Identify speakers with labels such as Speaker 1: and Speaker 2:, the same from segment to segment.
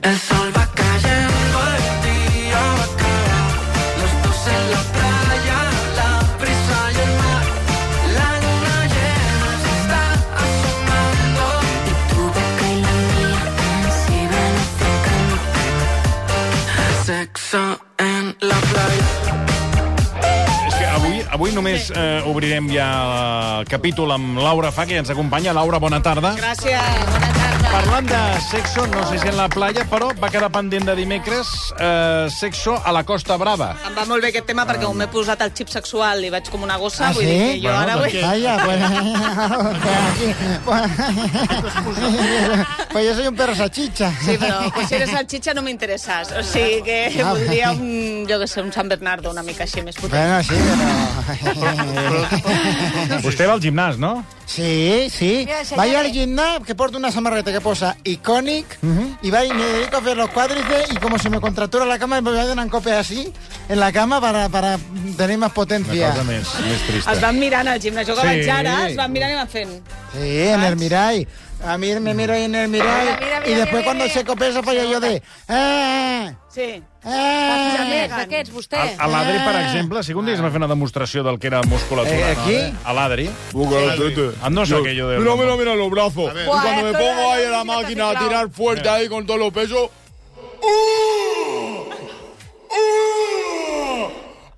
Speaker 1: El sol va cayendo, el día va a caer. Los dos en la playa, la brisa y el mar. La luna llena se está asomando.
Speaker 2: Y tu boca y la mía se van acercando.
Speaker 1: Sexo en la playa.
Speaker 3: És que avui, avui només eh, obrirem ja el capítol amb Laura Fa, que ens acompanya. Laura, bona tarda.
Speaker 4: Gràcies, bona tarda.
Speaker 3: Parlant de sexo, no sé si en la playa, però va quedar pendent de dimecres eh, sexo a la Costa Brava.
Speaker 4: Em va molt bé aquest tema perquè on m'he posat el xip sexual i vaig com una gossa, vull dir que jo
Speaker 3: Bueno,
Speaker 4: ara
Speaker 3: doncs
Speaker 4: vull...
Speaker 5: Vaya, pues, aquí, pues, pues yo soy un perro sachicha.
Speaker 4: Sí, però pues, si eres salchicha no m'interesses. O sigui que
Speaker 5: Ah,
Speaker 4: voldria un, jo que sé, un Sant Bernardo una mica així més potent.
Speaker 5: Bueno, sí,
Speaker 4: Ah,
Speaker 5: pero...
Speaker 3: Vostè va al gimnàs, no?
Speaker 5: Sí, sí.
Speaker 6: Mira, señores.
Speaker 5: Vaya al gimnasio que porta una samarreta que posa Iconic y va y me dedico a ver los cuádriceps y como se me contractura la cama, me voy a dar una copia así en la cama para, para tener más
Speaker 3: Una
Speaker 5: potencia.
Speaker 3: cosa més, més
Speaker 4: Es
Speaker 3: trista.
Speaker 4: van mirant al gimnàs. Jo que
Speaker 3: Sí.
Speaker 4: vaig ara, es van mirant i van fent...
Speaker 5: Sí, en el Mirai. A mí me miro ahí en el Mirai
Speaker 6: Ah, Mira, mira,
Speaker 5: y
Speaker 6: mira,
Speaker 5: después
Speaker 6: mira,
Speaker 5: cuando
Speaker 6: mira.
Speaker 5: se copia se falla yo de... ¡Ah!
Speaker 4: Sí.
Speaker 5: ¡Ah!
Speaker 6: Aquests, aquests, Eh, vostè.
Speaker 3: A l'Adri, per
Speaker 4: Ah.
Speaker 3: exemple, si un dia es va fer una demostració del que era musculatura.
Speaker 5: Eh,
Speaker 3: no?
Speaker 5: aquí?
Speaker 3: A l'Adri. Ando
Speaker 7: Andos
Speaker 3: saque yo de-
Speaker 7: este. Mira, mira, mira los brazos.
Speaker 3: ver.
Speaker 7: Y cuando me
Speaker 6: Buah, esto
Speaker 7: pongo
Speaker 6: era
Speaker 7: ahí en
Speaker 6: la
Speaker 7: la
Speaker 6: música
Speaker 7: máquina a
Speaker 6: teclado.
Speaker 7: tirar fuerte ahí con todos los pesos. ¡Uh!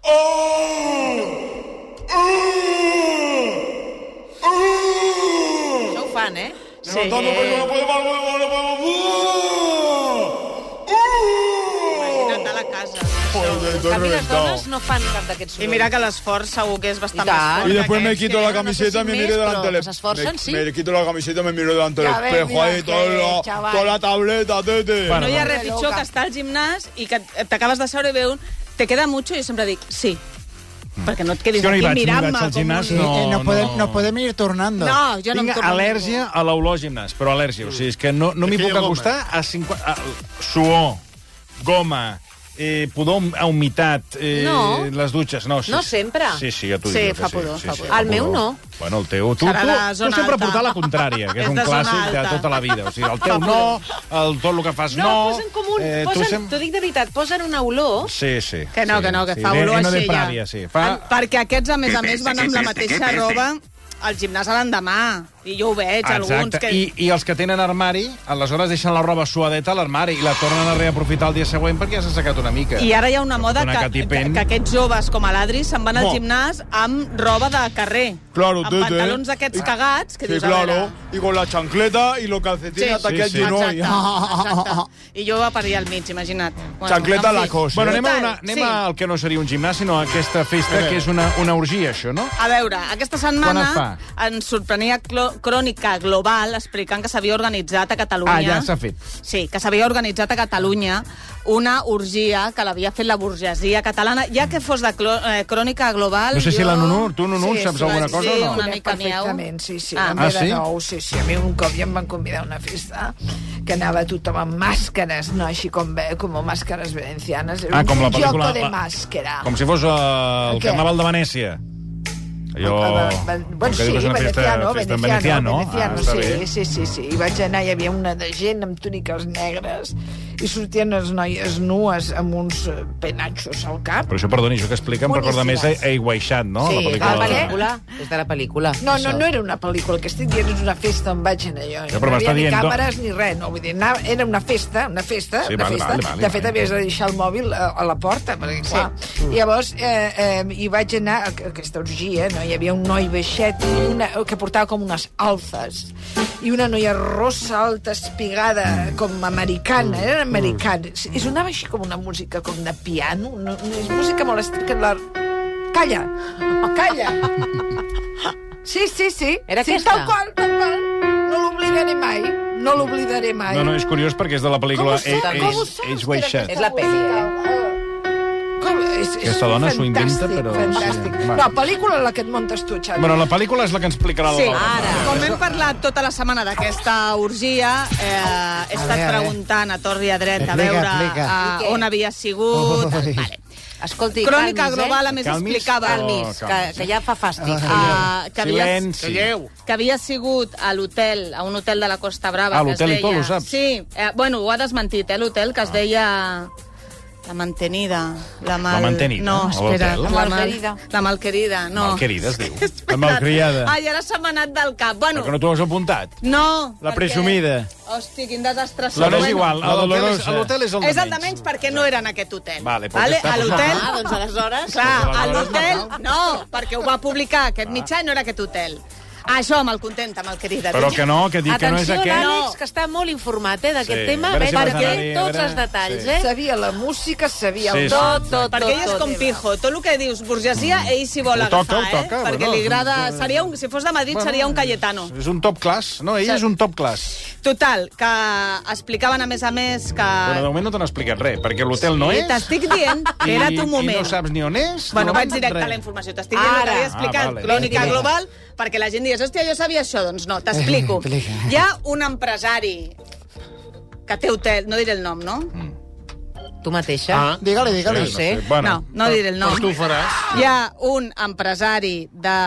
Speaker 7: ¡Uh! ¡Uh! ¡Uh!
Speaker 4: Això ho fan, eh? Sí.
Speaker 7: Levantando peso, no puedo más, no puedo más, no puedo más. ¡Uh!
Speaker 4: Anant a la casa.
Speaker 7: ¡Uh!
Speaker 6: pues,
Speaker 7: Joder, estoy
Speaker 6: A mi les
Speaker 7: reventado.
Speaker 6: dones no fan cap d'aquests
Speaker 4: I
Speaker 6: sorolls.
Speaker 4: mira que l'esforç segur que és bastant
Speaker 6: I tant.
Speaker 4: més fort.
Speaker 7: Y después
Speaker 4: que
Speaker 7: me
Speaker 4: aquells
Speaker 7: quito
Speaker 4: que-
Speaker 7: la
Speaker 6: no sé
Speaker 7: camiseta
Speaker 6: si
Speaker 7: me
Speaker 6: mes,
Speaker 7: miro delante del
Speaker 6: pero se esfuerzan,
Speaker 7: espejo.
Speaker 6: sí.
Speaker 7: Me quito la camiseta me miro delante del
Speaker 6: Ya ves,
Speaker 7: espejo.
Speaker 6: mira
Speaker 7: Ahí
Speaker 6: usted,
Speaker 7: todo lo-
Speaker 6: chaval.
Speaker 7: toda la tableta, tete.
Speaker 3: Bueno,
Speaker 4: No hi ha
Speaker 3: Bueno,
Speaker 4: res pitjor que estar al gimnàs i que t'acabes de seure i ve un... Te queda mucho? I jo sempre dic sí. Perquè no et quedis
Speaker 3: Jo no hi
Speaker 4: aquí
Speaker 3: vaig, no hi
Speaker 4: mirant-me.
Speaker 3: vaig al
Speaker 4: com un-
Speaker 3: gimnàs,
Speaker 5: Sí,
Speaker 3: No,
Speaker 5: eh, nos,
Speaker 3: no.
Speaker 5: podem- nos podem ir turnando.
Speaker 6: No, jo no em
Speaker 3: Tinc
Speaker 6: torno.
Speaker 3: al·lèrgia a l'olor a gimnàs, però al·lèrgia. O sigui, és que no, no m'hi
Speaker 7: Aquella
Speaker 3: puc
Speaker 7: goma.
Speaker 3: acostar a, 50, a suor, goma, eh, pudor a humitat, eh,
Speaker 6: No.
Speaker 3: les dutxes. No, sí,
Speaker 6: No
Speaker 3: sí.
Speaker 6: sempre.
Speaker 3: Sí, sí, ja t'ho
Speaker 4: Sí,
Speaker 3: dic. jo
Speaker 4: fa
Speaker 3: que
Speaker 4: pudor, fa pudor.
Speaker 6: El meu no.
Speaker 3: Bueno, el teu... Tu, tu,
Speaker 4: Serà de
Speaker 3: tu
Speaker 4: zona
Speaker 3: sempre
Speaker 4: alta.
Speaker 3: portar la contrària, que és,
Speaker 4: És
Speaker 3: un
Speaker 4: de zona
Speaker 3: clàssic de
Speaker 4: alta.
Speaker 3: tota la vida. O sigui, el
Speaker 4: Fa
Speaker 3: teu no,
Speaker 4: pudor.
Speaker 3: el tot el que fas
Speaker 6: No,
Speaker 3: no...
Speaker 6: posen com un...
Speaker 3: eh, tu
Speaker 6: posen,
Speaker 3: sem-
Speaker 6: T'ho dic de veritat, posen una olor...
Speaker 3: Sí, sí.
Speaker 4: Que no,
Speaker 3: sí,
Speaker 4: que no, que
Speaker 3: sí.
Speaker 4: fa
Speaker 3: De-
Speaker 4: olor
Speaker 3: no de
Speaker 4: així ja.
Speaker 3: prària, sí. Fa...
Speaker 4: En- Perquè aquests, a més a més, van amb la mateixa roba al gimnàs a l'endemà. I jo ho veig, alguns
Speaker 3: Exacte,
Speaker 4: que...
Speaker 3: I, i els que tenen armari, aleshores deixen la roba suadeta a l'armari i la tornen a reaprofitar el dia següent perquè ja s'ha secat una mica.
Speaker 4: I ara hi ha una moda
Speaker 3: Una
Speaker 4: que, que,
Speaker 3: catipen.
Speaker 4: que aquests joves, com a l'Adri, se'n van al
Speaker 7: No.
Speaker 4: gimnàs amb roba de carrer.
Speaker 7: Claro,
Speaker 4: amb
Speaker 3: eh?
Speaker 7: tete.
Speaker 4: pantalons d'aquests cagats, que
Speaker 7: Sí,
Speaker 4: dius, a
Speaker 7: claro.
Speaker 4: veure...
Speaker 7: Y con la chancleta y los
Speaker 4: Sí,
Speaker 7: calcetines hasta
Speaker 3: sí,
Speaker 7: aquí al
Speaker 3: sí.
Speaker 7: ginoll.
Speaker 4: Exacte, exacte. I jo per allà al mig, imagina't. Bueno,
Speaker 7: Chancleta
Speaker 4: en fi.
Speaker 7: Lacoste.
Speaker 3: Bueno, anem, a
Speaker 4: Total,
Speaker 3: una, anem
Speaker 4: sí.
Speaker 3: sí. al que no seria un gimnàs, sinó a aquesta festa, que és una, una orgia, això, no?
Speaker 4: A veure, aquesta
Speaker 3: Quan es
Speaker 4: setmana
Speaker 3: fa?
Speaker 4: ens sorprenia Clo- Crònica Global explicant que s'havia organitzat a Catalunya...
Speaker 3: Ah, ja s'ha fet.
Speaker 4: Sí, que s'havia organitzat a Catalunya una orgia que l'havia fet la burgesia catalana, ja que fos de clo- eh, Crònica Global...
Speaker 3: No sé si
Speaker 4: jo-
Speaker 3: la Nunu, tu, Nunu,
Speaker 4: sí,
Speaker 3: saps
Speaker 4: sí,
Speaker 3: alguna
Speaker 4: sí,
Speaker 3: cosa o no?
Speaker 4: una mica miau.
Speaker 8: Perfectament, sí, sí.
Speaker 4: Ah.
Speaker 8: Ah, ah
Speaker 3: Ah, sí?
Speaker 8: sí? Nou, sí, sí. A mi un cop ja em van convidar a una festa que anava tothom amb màscares, no així com, ve- com màscares valencianes. Era
Speaker 3: Ah, com la
Speaker 8: un
Speaker 3: pel·lícula...
Speaker 8: joco de
Speaker 3: la-
Speaker 8: màscara.
Speaker 3: Com si fos eh, el
Speaker 8: Què?
Speaker 3: Carnaval de Venècia. Allò...
Speaker 8: Ah, va- va-
Speaker 3: com
Speaker 8: Bueno,
Speaker 3: que
Speaker 8: sí,
Speaker 3: diu que és una festa-
Speaker 8: veneciano,
Speaker 3: festa en
Speaker 8: veneciano,
Speaker 3: Ah,
Speaker 8: veneciano,
Speaker 3: està
Speaker 8: sí,
Speaker 3: bé.
Speaker 8: sí, sí, sí. I vaig anar, hi havia una de gent amb túniques negres i sortien les noies nues amb uns eh, penatxos al cap.
Speaker 3: Però això, perdoni, això que explica em recorda més a
Speaker 8: Boníssimes.
Speaker 3: Aiguaixant, no?
Speaker 8: Sí,
Speaker 3: la
Speaker 6: La
Speaker 8: Ah,
Speaker 3: pel·lícula...
Speaker 8: perquè-
Speaker 6: pel·lícula. És de la pel·lícula.
Speaker 8: No,
Speaker 6: això.
Speaker 8: no, no era una pel·lícula, el que estic dient és una festa on vaig anar jo.
Speaker 3: Ja, però
Speaker 8: no hi
Speaker 3: m'està
Speaker 8: havia ni
Speaker 3: dient,
Speaker 8: càmeres ni res, no, vull dir, anava, era una festa, una festa,
Speaker 3: Sí,
Speaker 8: una
Speaker 3: vale,
Speaker 8: festa.
Speaker 3: vale, vale,
Speaker 8: de
Speaker 3: vale.
Speaker 8: fet,
Speaker 3: mm.
Speaker 8: havies de deixar el mòbil a, a la porta, perquè, clar, sí. llavors, eh, eh, hi vaig anar a, a aquesta orgia, no? hi havia un noi baixet i una, que portava com unes alfes, i una noia rossa, alta, espigada, com americana,
Speaker 3: Mm,
Speaker 8: era americana, i sonava així com una música com de piano, no, no, és música molt estricta, la... Calla! Calla! Sí, sí, sí.
Speaker 6: Era
Speaker 8: sí,
Speaker 6: aquesta?
Speaker 8: Tal qual, tal qual. No l'oblidaré mai. No l'oblidaré mai.
Speaker 3: No, no, és eh, curiós perquè és de la pel·lícula
Speaker 8: com ho saps? Com ho saps? que era
Speaker 3: Aiguaixant.
Speaker 8: aquesta
Speaker 6: És la peli,
Speaker 8: música? Oh. Com?
Speaker 9: és, és
Speaker 3: Aquesta dona s'ho
Speaker 9: fantàstic,
Speaker 3: inventa, però-
Speaker 9: Fantàstic.
Speaker 3: sí, va.
Speaker 9: no, pel·lícula en la que et muntes tu, Xavi.
Speaker 3: Bueno, la pel·lícula és la que ens explicarà la
Speaker 4: Sí,
Speaker 3: Laura.
Speaker 4: ara. Com hem parlat tota la setmana d'aquesta orgia, eh, he estat
Speaker 5: veure, a veure.
Speaker 4: preguntant a torn i a dret a
Speaker 5: Explica,
Speaker 4: veure
Speaker 5: explica.
Speaker 4: eh, on havia
Speaker 3: Oh.
Speaker 4: sigut...
Speaker 5: Ui.
Speaker 4: Vale.
Speaker 1: Escolti,
Speaker 4: Crònica
Speaker 1: calmis,
Speaker 4: Global, a
Speaker 1: eh?
Speaker 4: més,
Speaker 3: Calmis?
Speaker 4: explicava...
Speaker 3: Calmis.
Speaker 4: Calmis.
Speaker 1: Que, que ja fa fàstic.
Speaker 4: Ah, que havia-
Speaker 3: Silenci.
Speaker 4: que havia sigut a l'hotel, a un hotel de la Costa Brava.
Speaker 3: Ah,
Speaker 4: que es
Speaker 3: l'hotel i
Speaker 4: deia-
Speaker 3: tot, ho saps? Ah.
Speaker 4: Sí, eh, bueno, ho ha desmentit, eh, l'hotel, que es deia... La mantenida. La, mal...
Speaker 3: mantenida,
Speaker 4: No,
Speaker 3: o
Speaker 4: espera. La,
Speaker 3: l'hotel?
Speaker 1: La
Speaker 4: mal...
Speaker 1: malquerida.
Speaker 4: La malquerida, no.
Speaker 3: Malquerida es diu. La malcriada.
Speaker 4: Ai, ara s'ha manat del cap.
Speaker 3: Però
Speaker 4: Bueno,
Speaker 3: que no t'ho has apuntat.
Speaker 4: no,
Speaker 3: La
Speaker 4: perquè-
Speaker 3: presumida.
Speaker 4: Hosti, quin desastre.
Speaker 3: La no
Speaker 4: Bueno,
Speaker 3: és igual, a
Speaker 10: l'hotel és-
Speaker 3: Dolorosa.
Speaker 10: l'hotel és el de
Speaker 4: És el de
Speaker 10: menys.
Speaker 4: menys perquè no era en aquest hotel.
Speaker 3: Vale, però
Speaker 4: vale?
Speaker 3: què està
Speaker 4: A l'hotel...
Speaker 1: Ah, doncs aleshores...
Speaker 4: Clar,
Speaker 3: Però
Speaker 4: a
Speaker 3: aleshores
Speaker 4: l'hotel... No, perquè ho va publicar aquest mitjà i no era aquest hotel. Això me'l contenta, mal querida.
Speaker 3: Però que no, que dic que no és
Speaker 1: Atenció,
Speaker 3: aquest.
Speaker 1: l'Àlex, que està molt informat eh, d'aquest
Speaker 3: Sí,
Speaker 1: tema,
Speaker 3: a veure si
Speaker 1: perquè
Speaker 3: vas anar-hi, a
Speaker 1: tots
Speaker 3: veure-
Speaker 1: els detalls,
Speaker 3: sí.
Speaker 1: eh?
Speaker 9: Sabia la música, sabia
Speaker 3: Sí,
Speaker 9: el
Speaker 3: sí.
Speaker 9: do.
Speaker 1: Tot, tot,
Speaker 4: Perquè
Speaker 1: tot,
Speaker 4: ell és
Speaker 1: tot.
Speaker 4: com pijo. Tot el que dius, burgesia, ell s'hi vol
Speaker 3: Mm. Ho
Speaker 4: agafar,
Speaker 3: toca, ho toca,
Speaker 4: eh? Perquè
Speaker 3: bueno. doncs,
Speaker 4: li agrada... Seria un, si fos de Madrid, seria un Cayetano.
Speaker 3: És un top class. No, ell
Speaker 4: Sí.
Speaker 3: és un top class.
Speaker 4: Total, que explicaven, a més a més, que...
Speaker 3: Però de moment no t'han explicat res, perquè l'hotel no
Speaker 4: Eh,
Speaker 3: és...
Speaker 4: T'estic dient,
Speaker 3: i-
Speaker 4: espera't un
Speaker 3: I
Speaker 4: moment.
Speaker 3: no saps ni on és.
Speaker 4: Bueno,
Speaker 3: no
Speaker 4: vaig
Speaker 3: han dit
Speaker 4: directe
Speaker 3: res.
Speaker 4: a la informació. T'estic dient el
Speaker 1: Ara.
Speaker 4: que havia
Speaker 3: Ah,
Speaker 4: explicat,
Speaker 3: vale.
Speaker 4: crònica
Speaker 5: Explica.
Speaker 4: global, perquè la gent digués, hòstia, jo sabia això. Doncs no, t'explico.
Speaker 5: Explica.
Speaker 4: Hi ha un empresari que té hotel, no diré el nom, no?
Speaker 3: Mm,
Speaker 1: Tu mateixa?
Speaker 10: Ah,
Speaker 5: Digue-li,
Speaker 1: No
Speaker 5: digue-li.
Speaker 1: sé.
Speaker 3: Bueno,
Speaker 4: eh? No, no diré el nom.
Speaker 10: doncs tu ho faràs.
Speaker 4: Hi ha un empresari de,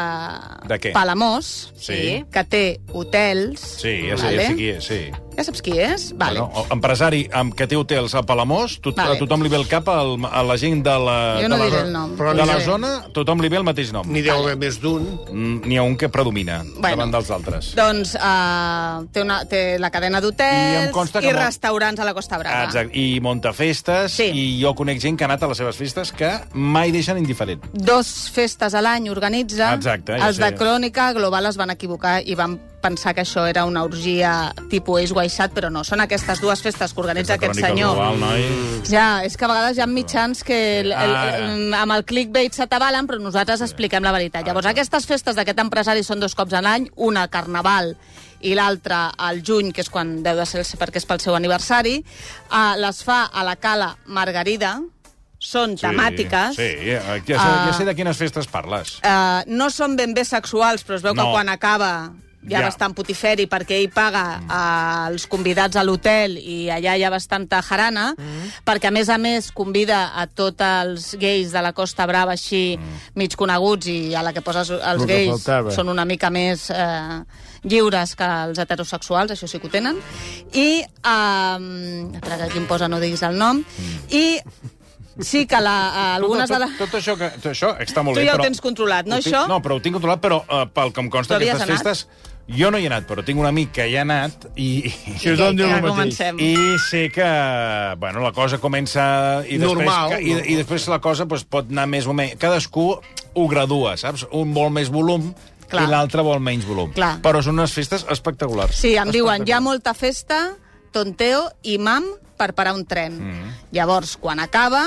Speaker 3: De què?
Speaker 4: Palamós
Speaker 3: Sí.
Speaker 4: que té hotels.
Speaker 3: Sí, ja sé, ja sé qui és, sí.
Speaker 4: Ja saps qui és? Vale.
Speaker 3: Bueno, oh. el empresari amb que té hotels a Palamós, tot,
Speaker 4: Vale.
Speaker 3: a tothom li ve el cap al, a la gent de la,
Speaker 4: jo no
Speaker 3: de la,
Speaker 4: diré el nom.
Speaker 10: però
Speaker 3: de
Speaker 10: no
Speaker 3: la
Speaker 10: sé.
Speaker 3: zona, tothom li ve el mateix nom.
Speaker 10: N'hi deu haver més d'un.
Speaker 3: Mm, N'hi ha un que predomina bueno. davant dels altres.
Speaker 4: Doncs uh, té, una, té la cadena
Speaker 3: I em
Speaker 4: d'hotels
Speaker 3: consta
Speaker 4: i,
Speaker 3: que molt-
Speaker 4: restaurants a la Costa Brava.
Speaker 3: Exacte. I monta festes,
Speaker 4: Sí.
Speaker 3: i jo conec gent que ha anat a les seves festes que mai deixen indiferent.
Speaker 4: dos festes a l'any organitza.
Speaker 3: Exacte, ja
Speaker 4: Els
Speaker 3: sé.
Speaker 4: de Crònica Global es van equivocar i van pensar que això era una orgia tipus Eix Guaixat, però no. Són aquestes dues festes que organitza
Speaker 3: Aquesta
Speaker 4: aquest
Speaker 3: crònica
Speaker 4: senyor.
Speaker 3: Global, noi.
Speaker 4: Ja, és que a vegades hi ha mitjans que el, el,
Speaker 3: Ara.
Speaker 4: el, amb el clickbait s'atabalen, però nosaltres expliquem la veritat. Llavors, aquestes festes d'aquest empresari són dos cops a l'any, una al Carnaval i l'altra al juny, que és quan deu de ser el- perquè és pel seu aniversari. Uh, les fa a la Cala Margarida, són
Speaker 3: Sí,
Speaker 4: temàtiques.
Speaker 3: Sí, ja, ja, sé, ja
Speaker 4: Ah.
Speaker 3: sé de quines festes parles.
Speaker 4: Eh, no són ben bé sexuals, però es veu
Speaker 3: No.
Speaker 4: que quan acaba hi ha
Speaker 3: Ja.
Speaker 4: ja. bastant putiferi perquè ell paga eh, els convidats a l'hotel i allà hi ha bastanta jarana, perquè a més a més convida a tots els gais de la Costa Brava així mig coneguts i a la que poses els
Speaker 5: que
Speaker 4: gais
Speaker 5: faltava.
Speaker 4: són una mica més eh, lliures que els heterosexuals, això sí que ho tenen. I, eh, espera, que aquí em posa no diguis el nom, i sí que la, algunes de
Speaker 3: tot,
Speaker 4: les...
Speaker 3: tot, tot, això que, tot això està molt
Speaker 4: Tu
Speaker 3: bé,
Speaker 4: ja ho
Speaker 3: però...
Speaker 4: tens controlat, no,
Speaker 3: Ho tinc-
Speaker 4: això?
Speaker 3: No, però ho tinc controlat, però uh, pel que em consta
Speaker 4: Tu havies
Speaker 3: aquestes festes... Jo no hi he anat, però tinc un amic que hi ha anat i...
Speaker 10: Si us dono
Speaker 4: Ja
Speaker 10: el mateix.
Speaker 4: comencem.
Speaker 3: I sé que, bueno, la cosa comença... I després,
Speaker 10: Normal,
Speaker 3: que, i,
Speaker 10: normal.
Speaker 3: I després la cosa doncs, pot anar més o menys... Cadascú ho gradua, saps? Un vol més volum
Speaker 4: Clar.
Speaker 3: i l'altre vol menys volum.
Speaker 4: Clar.
Speaker 3: Però són unes festes espectaculars.
Speaker 4: Sí, em diuen, hi ha molta festa, tonteo i mam per parar un tren. Mm. Llavors, quan acaba,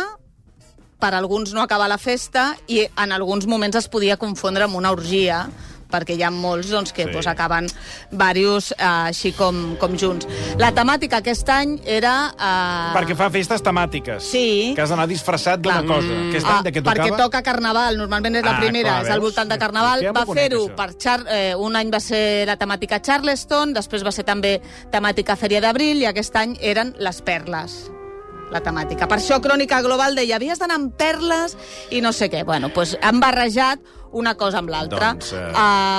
Speaker 4: per alguns no acaba la festa i en alguns moments es podia confondre amb una orgia, perquè hi ha molts doncs, que
Speaker 3: Sí.
Speaker 4: sí. doncs, acaben diversos eh, així com, com junts. La temàtica aquest any era... Eh,
Speaker 3: Perquè fa festes temàtiques.
Speaker 4: Sí.
Speaker 3: Que has d'anar disfressat d'una
Speaker 4: Clar. Ah,
Speaker 3: cosa. Aquest any de què tocava...
Speaker 4: Mm. Perquè toca Carnaval, normalment és la
Speaker 3: Ah,
Speaker 4: primera,
Speaker 3: clar,
Speaker 4: és al
Speaker 3: veus?
Speaker 4: voltant de Carnaval.
Speaker 3: Ja m'ho
Speaker 4: Va
Speaker 3: conec,
Speaker 4: fer-ho
Speaker 3: això.
Speaker 4: per Char eh, un any va ser la temàtica Charleston, després va ser també temàtica Fèria d'Abril i aquest any eren les perles la temàtica. Per això Crònica Global deia havies d'anar amb perles i no sé què. Bueno, doncs han barrejat una cosa amb l'altra.
Speaker 3: Doncs, eh,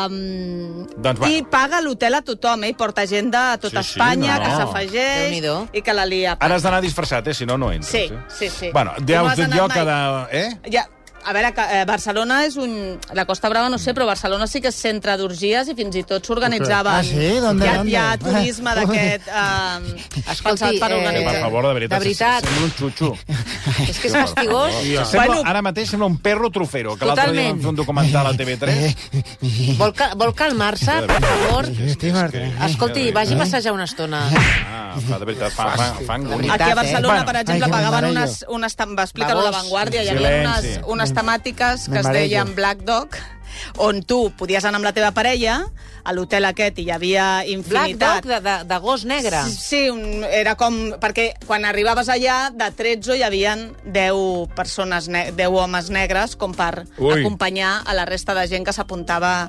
Speaker 4: Um,
Speaker 3: doncs, bueno.
Speaker 4: I paga l'hotel a tothom, eh? I porta gent de
Speaker 3: Sí,
Speaker 4: tota
Speaker 3: sí,
Speaker 4: Espanya,
Speaker 3: no.
Speaker 4: que
Speaker 1: Déu-n'hi-do.
Speaker 4: s'afegeix i que la lia.
Speaker 3: Ara has d'anar disfressat, eh? Si no, no entres.
Speaker 4: Sí,
Speaker 3: eh?
Speaker 4: sí, sí.
Speaker 3: Bueno, ja
Speaker 4: Tu no
Speaker 3: us
Speaker 4: has
Speaker 3: dic
Speaker 4: anat
Speaker 3: jo
Speaker 4: mai.
Speaker 3: que... De... Eh?
Speaker 4: Ja, a veure, que, eh, Barcelona és un... La Costa Brava no sé, però Barcelona sí que és centre d'orgies i fins i tot s'organitzaven...
Speaker 5: Ah, sí?
Speaker 4: hi,
Speaker 5: ¿Dónde,
Speaker 4: ha,
Speaker 5: dónde?
Speaker 4: hi ha turisme d'aquest... Eh,
Speaker 1: Escolti,
Speaker 4: pensat per
Speaker 1: eh,
Speaker 4: organitzar.
Speaker 3: Per favor, de veritat,
Speaker 1: De veritat.
Speaker 3: sembla un xutxo.
Speaker 1: És que és fastigós.
Speaker 10: Ja.
Speaker 3: Sembla,
Speaker 4: Bueno.
Speaker 3: ara mateix sembla un perro trofero, que l'altre dia
Speaker 1: Totalment.
Speaker 3: vam fer un documental a
Speaker 10: Eh,
Speaker 3: TV3.
Speaker 1: Vol, cal vol calmar-se, per favor.
Speaker 5: Estic mort.
Speaker 1: Escolti, vagi a passejar una estona.
Speaker 10: eh.
Speaker 3: Ah, fa, de veritat, fa, fa, fa angúnia.
Speaker 4: Aquí a Barcelona,
Speaker 3: Bueno,
Speaker 4: per exemple,
Speaker 5: ai, que
Speaker 4: pagaven
Speaker 5: m'embarallo.
Speaker 4: unes... unes tam... Va explicar-ho a
Speaker 1: Vamos.
Speaker 4: l'avantguàrdia. Hi havia unes,
Speaker 3: Silenci.
Speaker 4: unes temàtiques que es
Speaker 5: M'embarallo.
Speaker 4: deien Black Dog, on tu podies anar amb la teva parella a l'hotel aquest i hi havia
Speaker 1: Black
Speaker 4: infinitat.
Speaker 1: Dog de, de, de gos negre.
Speaker 4: Sí, un, era com... Perquè quan arribaves allà, de 13 hi havien 10 persones, ne 10 homes negres, com per
Speaker 3: Ui.
Speaker 4: acompanyar a la resta de gent que s'apuntava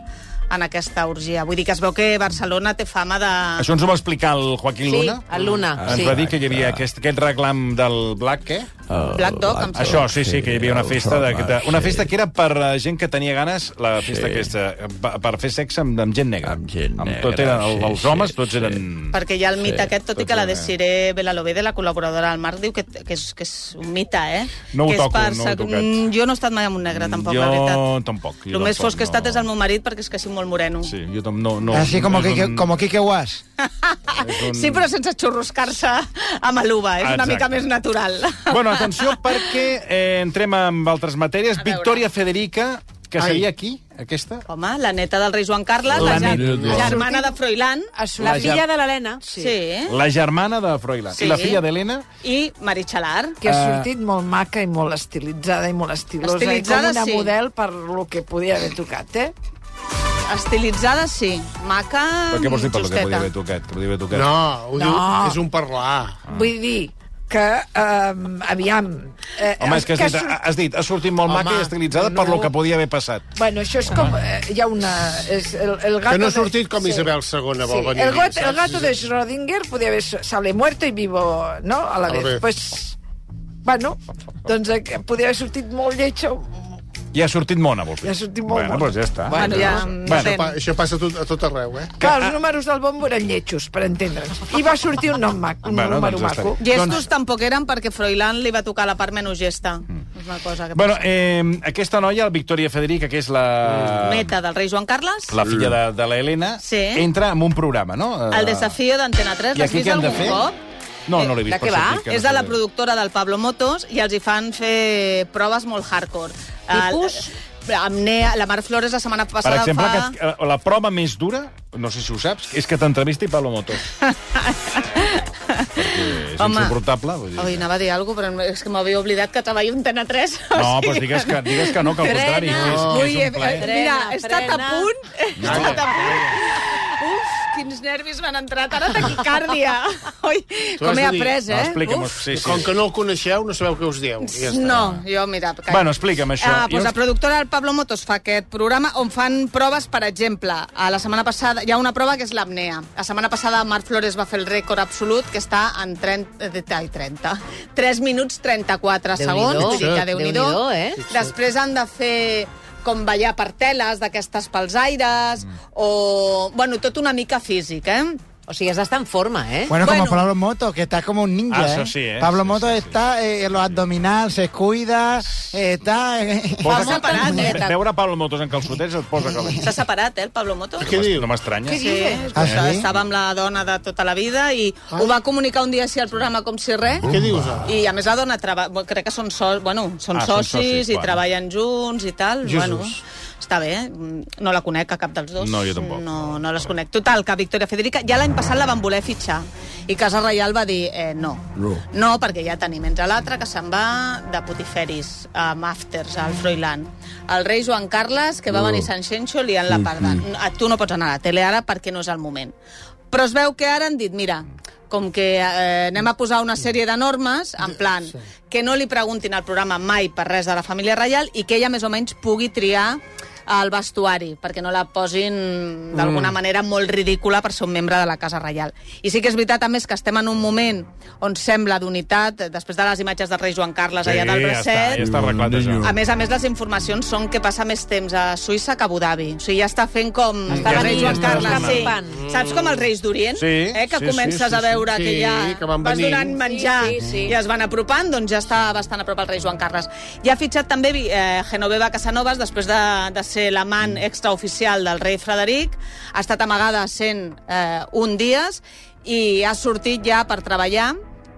Speaker 4: en aquesta orgia. Vull dir que es veu que Barcelona té fama de...
Speaker 3: Això ens ho va explicar el Joaquín
Speaker 1: Sí,
Speaker 3: Luna.
Speaker 1: el Luna,
Speaker 3: Ah, Ens
Speaker 1: sí.
Speaker 3: va dir que hi havia aquest, aquest reclam del Black, què?
Speaker 4: Black Dog, em sembla.
Speaker 3: Ah, Això, sí, sí, que hi havia una festa, de, de, una festa que era per eh, gent que tenia ganes, la festa aquesta, eh, pa- per fer sexe amb, amb gent negra.
Speaker 10: Amb gent
Speaker 3: tot
Speaker 10: negra,
Speaker 3: eren,
Speaker 10: sí,
Speaker 3: els
Speaker 10: sí,
Speaker 3: homes, tots
Speaker 10: sí.
Speaker 3: eren...
Speaker 4: Perquè hi ha el mite sí, aquest, tot i que la
Speaker 10: totalment.
Speaker 4: Desiree Belalobede, la col·laboradora del Marc, diu que, que, és, que és un mite, eh?
Speaker 3: No ho
Speaker 4: que és
Speaker 3: toco, no ho he
Speaker 4: sac-
Speaker 3: tocat.
Speaker 4: Mm, Jo no he estat mai amb un negre, tampoc,
Speaker 3: jo
Speaker 4: la veritat.
Speaker 3: tampoc. Jo
Speaker 4: El més
Speaker 3: tampoc,
Speaker 4: fosc que he estat
Speaker 3: no.
Speaker 4: és el meu marit, perquè és que soc molt moreno.
Speaker 3: Sí, jo tam, no, no,
Speaker 5: Así como
Speaker 3: no és
Speaker 5: Kike,
Speaker 3: un-
Speaker 5: como Kike Guas.
Speaker 3: és un-
Speaker 4: Sí, però sense xurruscar-se amb l'uva. És una
Speaker 3: Doncs- Exacte.
Speaker 4: mica més natural.
Speaker 3: Bueno, atenció, perquè eh, entrem amb altres matèries.
Speaker 4: veure.
Speaker 3: Victòria Federica, que
Speaker 5: Ai.
Speaker 3: seria aquí, aquesta?
Speaker 4: Home, la neta del rei Joan Carles, la,
Speaker 3: La
Speaker 4: ja-
Speaker 3: neta.
Speaker 4: la germana de Froilán.
Speaker 1: La
Speaker 3: La
Speaker 1: filla
Speaker 3: ja-
Speaker 1: de l'Helena.
Speaker 4: Sí. sí.
Speaker 3: La germana de Froilán.
Speaker 4: Eh? Sí. Ah,
Speaker 3: I la filla d'Helena?
Speaker 4: I Maritxalar.
Speaker 9: que ha
Speaker 3: Eh.
Speaker 9: sortit molt maca i molt estilitzada i molt estilosa
Speaker 4: Estilitzada,
Speaker 9: i com una
Speaker 4: sí.
Speaker 9: model per lo que podia haver tocat, eh?
Speaker 4: Estilitzada, sí. Maca,
Speaker 3: Però què vols dir per lo que
Speaker 4: justeta.
Speaker 3: podia haver tocat? Que podia haver tocat?
Speaker 7: No, ho diu,
Speaker 9: No. Ah.
Speaker 7: és un parlar.
Speaker 9: Vull dir que, um, aviam... Eh,
Speaker 3: Home, és que has
Speaker 9: que
Speaker 3: dit,
Speaker 9: surt-
Speaker 3: has dit, ha sortit molt
Speaker 7: Home,
Speaker 3: maca i estilitzada per
Speaker 7: no.
Speaker 3: lo que podia haver passat.
Speaker 9: Bueno, això és com... Eh, hi ha una... És el, el gato
Speaker 7: Que no ha
Speaker 9: de-
Speaker 7: sortit com Isabel II vol venir.
Speaker 9: El, gat,
Speaker 7: saps?
Speaker 9: el gato de Schrödinger podia haver sale muerto i vivo, no? A la
Speaker 7: A la
Speaker 9: vez.
Speaker 7: vez.
Speaker 9: Pues, bueno, doncs eh, que podia haver sortit molt lletja.
Speaker 3: I ha sortit mona, vols dir?
Speaker 9: I ha sortit molt
Speaker 3: bueno,
Speaker 9: mona.
Speaker 3: Doncs ja està.
Speaker 4: Bueno, ja...
Speaker 7: Això,
Speaker 4: depèn.
Speaker 7: pa, això passa a tot, a tot arreu, eh?
Speaker 9: Clar, els números del bombo eren lletjos, per entendre'ns. I va sortir un nom mac, un
Speaker 3: Bueno,
Speaker 9: número
Speaker 3: doncs està
Speaker 9: maco.
Speaker 3: bé.
Speaker 4: Gestos doncs... tampoc eren perquè Froilán li va tocar la part menys gesta. És una cosa que...
Speaker 3: Mm. Bueno, eh, aquesta noia, la Victòria Federica, que és la...
Speaker 4: Neta del rei Joan Carles, la...
Speaker 3: La filla de, de la Helena,
Speaker 4: Sí.
Speaker 3: entra en un programa, no? Eh,
Speaker 4: el desafío d'Antena 3,
Speaker 3: I
Speaker 4: l'has
Speaker 3: aquí
Speaker 4: vist
Speaker 3: què hem
Speaker 4: algun
Speaker 3: de fer?
Speaker 4: cop?
Speaker 3: No, no l'he vist.
Speaker 1: De què
Speaker 3: per això
Speaker 1: va?
Speaker 3: et dic que no
Speaker 4: És Eh, de la
Speaker 3: sé.
Speaker 4: productora del Pablo Motos i els hi fan fer proves molt hardcore.
Speaker 1: Tipus?
Speaker 4: El, eh, amb Nea, la Mar Flores la setmana
Speaker 3: Per
Speaker 4: passada
Speaker 3: exemple,
Speaker 4: fa...
Speaker 3: que, eh, la prova més dura, no sé si ho saps, és que t'entrevisti Pablo Motos. Perquè és
Speaker 4: Home.
Speaker 3: insuportable. Vull dir.
Speaker 4: Oi, anava a dir alguna cosa, però és que m'havia oblidat que treballo a Antena 3. o
Speaker 3: No,
Speaker 4: sigui
Speaker 3: però digues que, digues que no, que al
Speaker 1: Frena.
Speaker 3: contrari. que És,
Speaker 4: Ui,
Speaker 3: que és
Speaker 4: eh,
Speaker 3: un plaer.
Speaker 4: mira,
Speaker 1: Frena,
Speaker 4: he estat a
Speaker 1: frena.
Speaker 4: punt. He estat a punt. Uf, quins nervis m'han entrat. Ara taquicàrdia. Oi,
Speaker 7: Tu has
Speaker 4: com he
Speaker 7: de dir,
Speaker 4: après,
Speaker 3: No,
Speaker 4: eh?
Speaker 3: Explica'm-ho.
Speaker 4: Uf.
Speaker 3: Sí, sí.
Speaker 7: Com que no el coneixeu, no sabeu què us dieu. Ja està.
Speaker 4: No, jo, mira... Que...
Speaker 3: Bueno, explica'm això.
Speaker 4: Ah,
Speaker 3: Jo-
Speaker 4: doncs la productora del Pablo Motos fa aquest programa on fan proves, per exemple, a la setmana passada... Hi ha una prova que és l'apnea. La setmana passada Marc Flores va fer el rècord absolut, que està en 30... eh, Ai, 30. 3 minuts 34
Speaker 1: Déu-n'hi-do.
Speaker 4: segons. Vull dir que Déu-n'hi-do.
Speaker 1: Déu-n'hi-do, eh?
Speaker 4: Després han de fer com ballar per teles d'aquestes pels aires, mm. o... Bueno, tot una mica físic, eh?
Speaker 1: O sigui, has d'estar en forma, eh?
Speaker 5: Bueno,
Speaker 4: Bueno.
Speaker 5: como Pablo Moto, que está como un ninja.
Speaker 3: Ah, eso
Speaker 5: ¿eh?
Speaker 3: sí, ¿eh?
Speaker 5: Pablo
Speaker 3: Sí,
Speaker 5: Moto
Speaker 3: sí, sí.
Speaker 5: está eh, en los abdominales, se cuida, eh, está. eh,
Speaker 3: Posa
Speaker 4: Fa molt parat, eh?
Speaker 3: Ve- Veure Pablo Motos en calçotets et posa calent.
Speaker 4: S'ha separat, eh, el Pablo Motos?
Speaker 3: Què diu? No m'estranya.
Speaker 4: Sí,
Speaker 5: Ah,
Speaker 4: està-
Speaker 5: sí?
Speaker 4: estava amb la dona de tota la vida i ho va comunicar un dia així al programa com si res.
Speaker 7: Què dius, ara?
Speaker 4: I a més la dona treba... bueno, crec que són so... bueno, són
Speaker 3: Ah, són
Speaker 4: socis,
Speaker 3: socis,
Speaker 4: i
Speaker 3: bueno.
Speaker 4: treballen junts i tal.
Speaker 7: Jesús.
Speaker 4: Bueno, està bé, eh? Mm, no la conec a cap dels dos.
Speaker 3: No, jo tampoc.
Speaker 4: No, no les conec. Total, que Victoria Federica ja l'any passat la van voler fitxar i Casa Reial va dir eh, no.
Speaker 10: No.
Speaker 4: No, perquè ja tenim entre l'altre que se'n va de putiferis amb afters al Froilán. El rei Joan Carles, que va venir a Sant Xenxo liant la parda. A tu no pots anar a la tele ara perquè no és el moment. Però es veu que ara han dit, mira, com que eh, anem a posar una sèrie de normes, en plan, que no li preguntin al programa mai per res de la família reial i que ella més o menys pugui triar el vestuari, perquè no la posin d'alguna
Speaker 3: Mm.
Speaker 4: manera molt ridícula per ser un membre de la Casa Reial. I sí que és veritat, a més, que estem en un moment on sembla d'unitat, eh, després de les imatges del rei Joan Carles allà del
Speaker 3: ja està,
Speaker 4: bracet,
Speaker 3: ja està arreglat, això.
Speaker 4: a més a més, les informacions són que passa més temps a Suïssa que a Abu Dhabi. O sigui, ja està fent com...
Speaker 1: Està
Speaker 4: el rei
Speaker 1: venint,
Speaker 4: Joan
Speaker 1: està
Speaker 4: Carles, sí.
Speaker 1: escampant.
Speaker 4: Saps com els reis d'Orient?
Speaker 3: Sí,
Speaker 4: eh, que
Speaker 3: sí, sí,
Speaker 4: comences
Speaker 3: sí,
Speaker 4: a veure
Speaker 7: sí.
Speaker 4: que ja
Speaker 7: Sí, que van
Speaker 4: vas
Speaker 7: venint.
Speaker 4: donant menjar
Speaker 1: Sí, sí, sí.
Speaker 4: i es van apropant, doncs ja està bastant a prop el rei Joan Carles. Ja ha fitxat també eh, Genoveva Casanovas, després de, de ser l'amant extraoficial del rei Frederic. Ha estat amagada 100 eh, un dies i ha sortit ja per treballar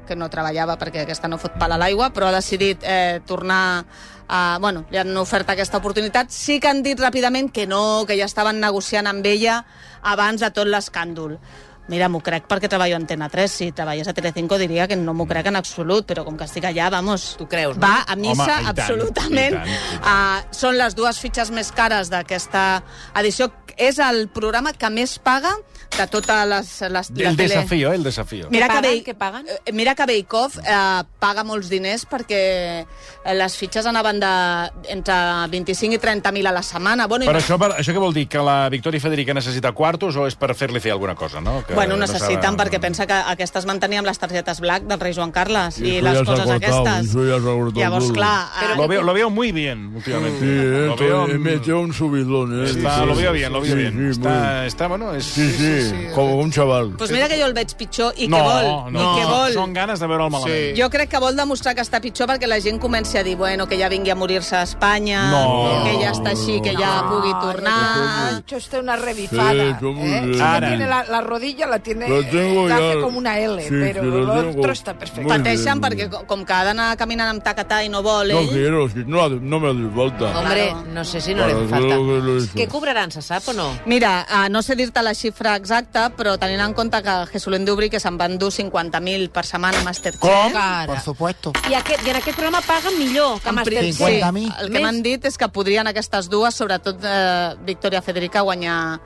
Speaker 4: que no treballava perquè aquesta no fot pal a l'aigua, però ha decidit eh, tornar a... Bueno, li han ofert aquesta oportunitat. Sí que han dit ràpidament que no, que ja estaven negociant amb ella abans de tot l'escàndol. Mira, m'ho crec perquè treballo a Antena 3. Si treballes a Telecinco diria que no m'ho crec en absolut, però com que estic allà, vamos...
Speaker 1: Tu creus, no?
Speaker 4: Va a missa,
Speaker 3: Home, i tant,
Speaker 4: absolutament.
Speaker 3: i tant, i
Speaker 4: Ah, són les dues fitxes més cares d'aquesta edició. És el programa que més paga de totes les... les la
Speaker 3: El desafío, eh, el desafío.
Speaker 4: Mira
Speaker 1: Què
Speaker 4: que,
Speaker 1: paguen?
Speaker 4: Bake-
Speaker 1: Què paguen?
Speaker 4: eh, mira que Beikov eh, paga molts diners perquè eh, les fitxes anaven de, entre 25 i 30.000 a la setmana. Bueno, i
Speaker 3: Però
Speaker 4: no-
Speaker 3: això, per, això què vol dir? Que la Victòria Federica necessita quartos o és per fer-li fer alguna cosa, no? Que
Speaker 4: bueno,
Speaker 3: no
Speaker 4: necessiten,
Speaker 3: saben-
Speaker 4: perquè pensa que aquestes mantenia amb les targetes black del rei Joan Carles i,
Speaker 7: Eso
Speaker 4: les
Speaker 7: ya se ha
Speaker 4: coses
Speaker 7: cortado,
Speaker 4: aquestes.
Speaker 7: eso ya se ha cortado
Speaker 4: Llavors,
Speaker 7: todo.
Speaker 4: clar... eh,
Speaker 3: Lo veo, lo veo muy bien, últimamente.
Speaker 7: Sí, eh,
Speaker 3: lo veo, mm,
Speaker 7: estoy- me dio un subidón, eh.
Speaker 3: está, lo veo bien, lo veo
Speaker 7: Sí,
Speaker 3: bien.
Speaker 7: Sí,
Speaker 3: Está, está, bueno, es...
Speaker 7: muy- sí, sí, Pues, como un chaval.
Speaker 4: Doncs mira que jo el veig pitjor, i
Speaker 3: No,
Speaker 4: què vol?
Speaker 3: no,
Speaker 4: I què vol?
Speaker 3: són ganes de veure'l malament.
Speaker 4: Jo crec que vol demostrar que està pitjor perquè la gent comenci a dir bueno, que ja vingui a morir-se a Espanya,
Speaker 3: No.
Speaker 4: que ja està així, que ja pugui
Speaker 7: ah,
Speaker 4: tornar...
Speaker 9: Yo estoy una revifada.
Speaker 7: Sí, yo muy
Speaker 9: ¿eh?
Speaker 7: bien.
Speaker 9: Ella
Speaker 3: Ara.
Speaker 9: tiene la, la rodilla la tiene
Speaker 7: Lo tengo
Speaker 9: eh, la
Speaker 7: ya.
Speaker 9: hace como una L,
Speaker 7: Sí,
Speaker 9: pero
Speaker 7: sí,
Speaker 9: el
Speaker 7: lo
Speaker 9: otro
Speaker 7: tengo.
Speaker 9: está perfecto.
Speaker 7: Muy
Speaker 4: Pateixen
Speaker 7: bien.
Speaker 4: perquè, co- com que ha d'anar caminant amb tacatà i no vol
Speaker 7: No
Speaker 4: ell...
Speaker 7: quiero, sí, no, hace- no me hace falta.
Speaker 1: Hombre,
Speaker 4: Claro.
Speaker 1: no sé si no
Speaker 7: Para
Speaker 1: li fa
Speaker 7: hacer lo que lo
Speaker 1: falta.
Speaker 7: hizo.
Speaker 1: Què cobraran, se sap o no?
Speaker 4: Mira, eh, no sé dir-te la xifra exacta, però tenint en compte que Jesulín d'Ubri que se'n van dur 50.000 per setmana a Masterchef...
Speaker 5: Por supuesto.
Speaker 1: I, aquest, I en aquest programa paguen millor que a
Speaker 4: En principi,
Speaker 1: Masterchef.
Speaker 5: 50.000.
Speaker 4: el que m'han dit és que podrien aquestes dues, sobretot eh, Victoria Federica, guanyar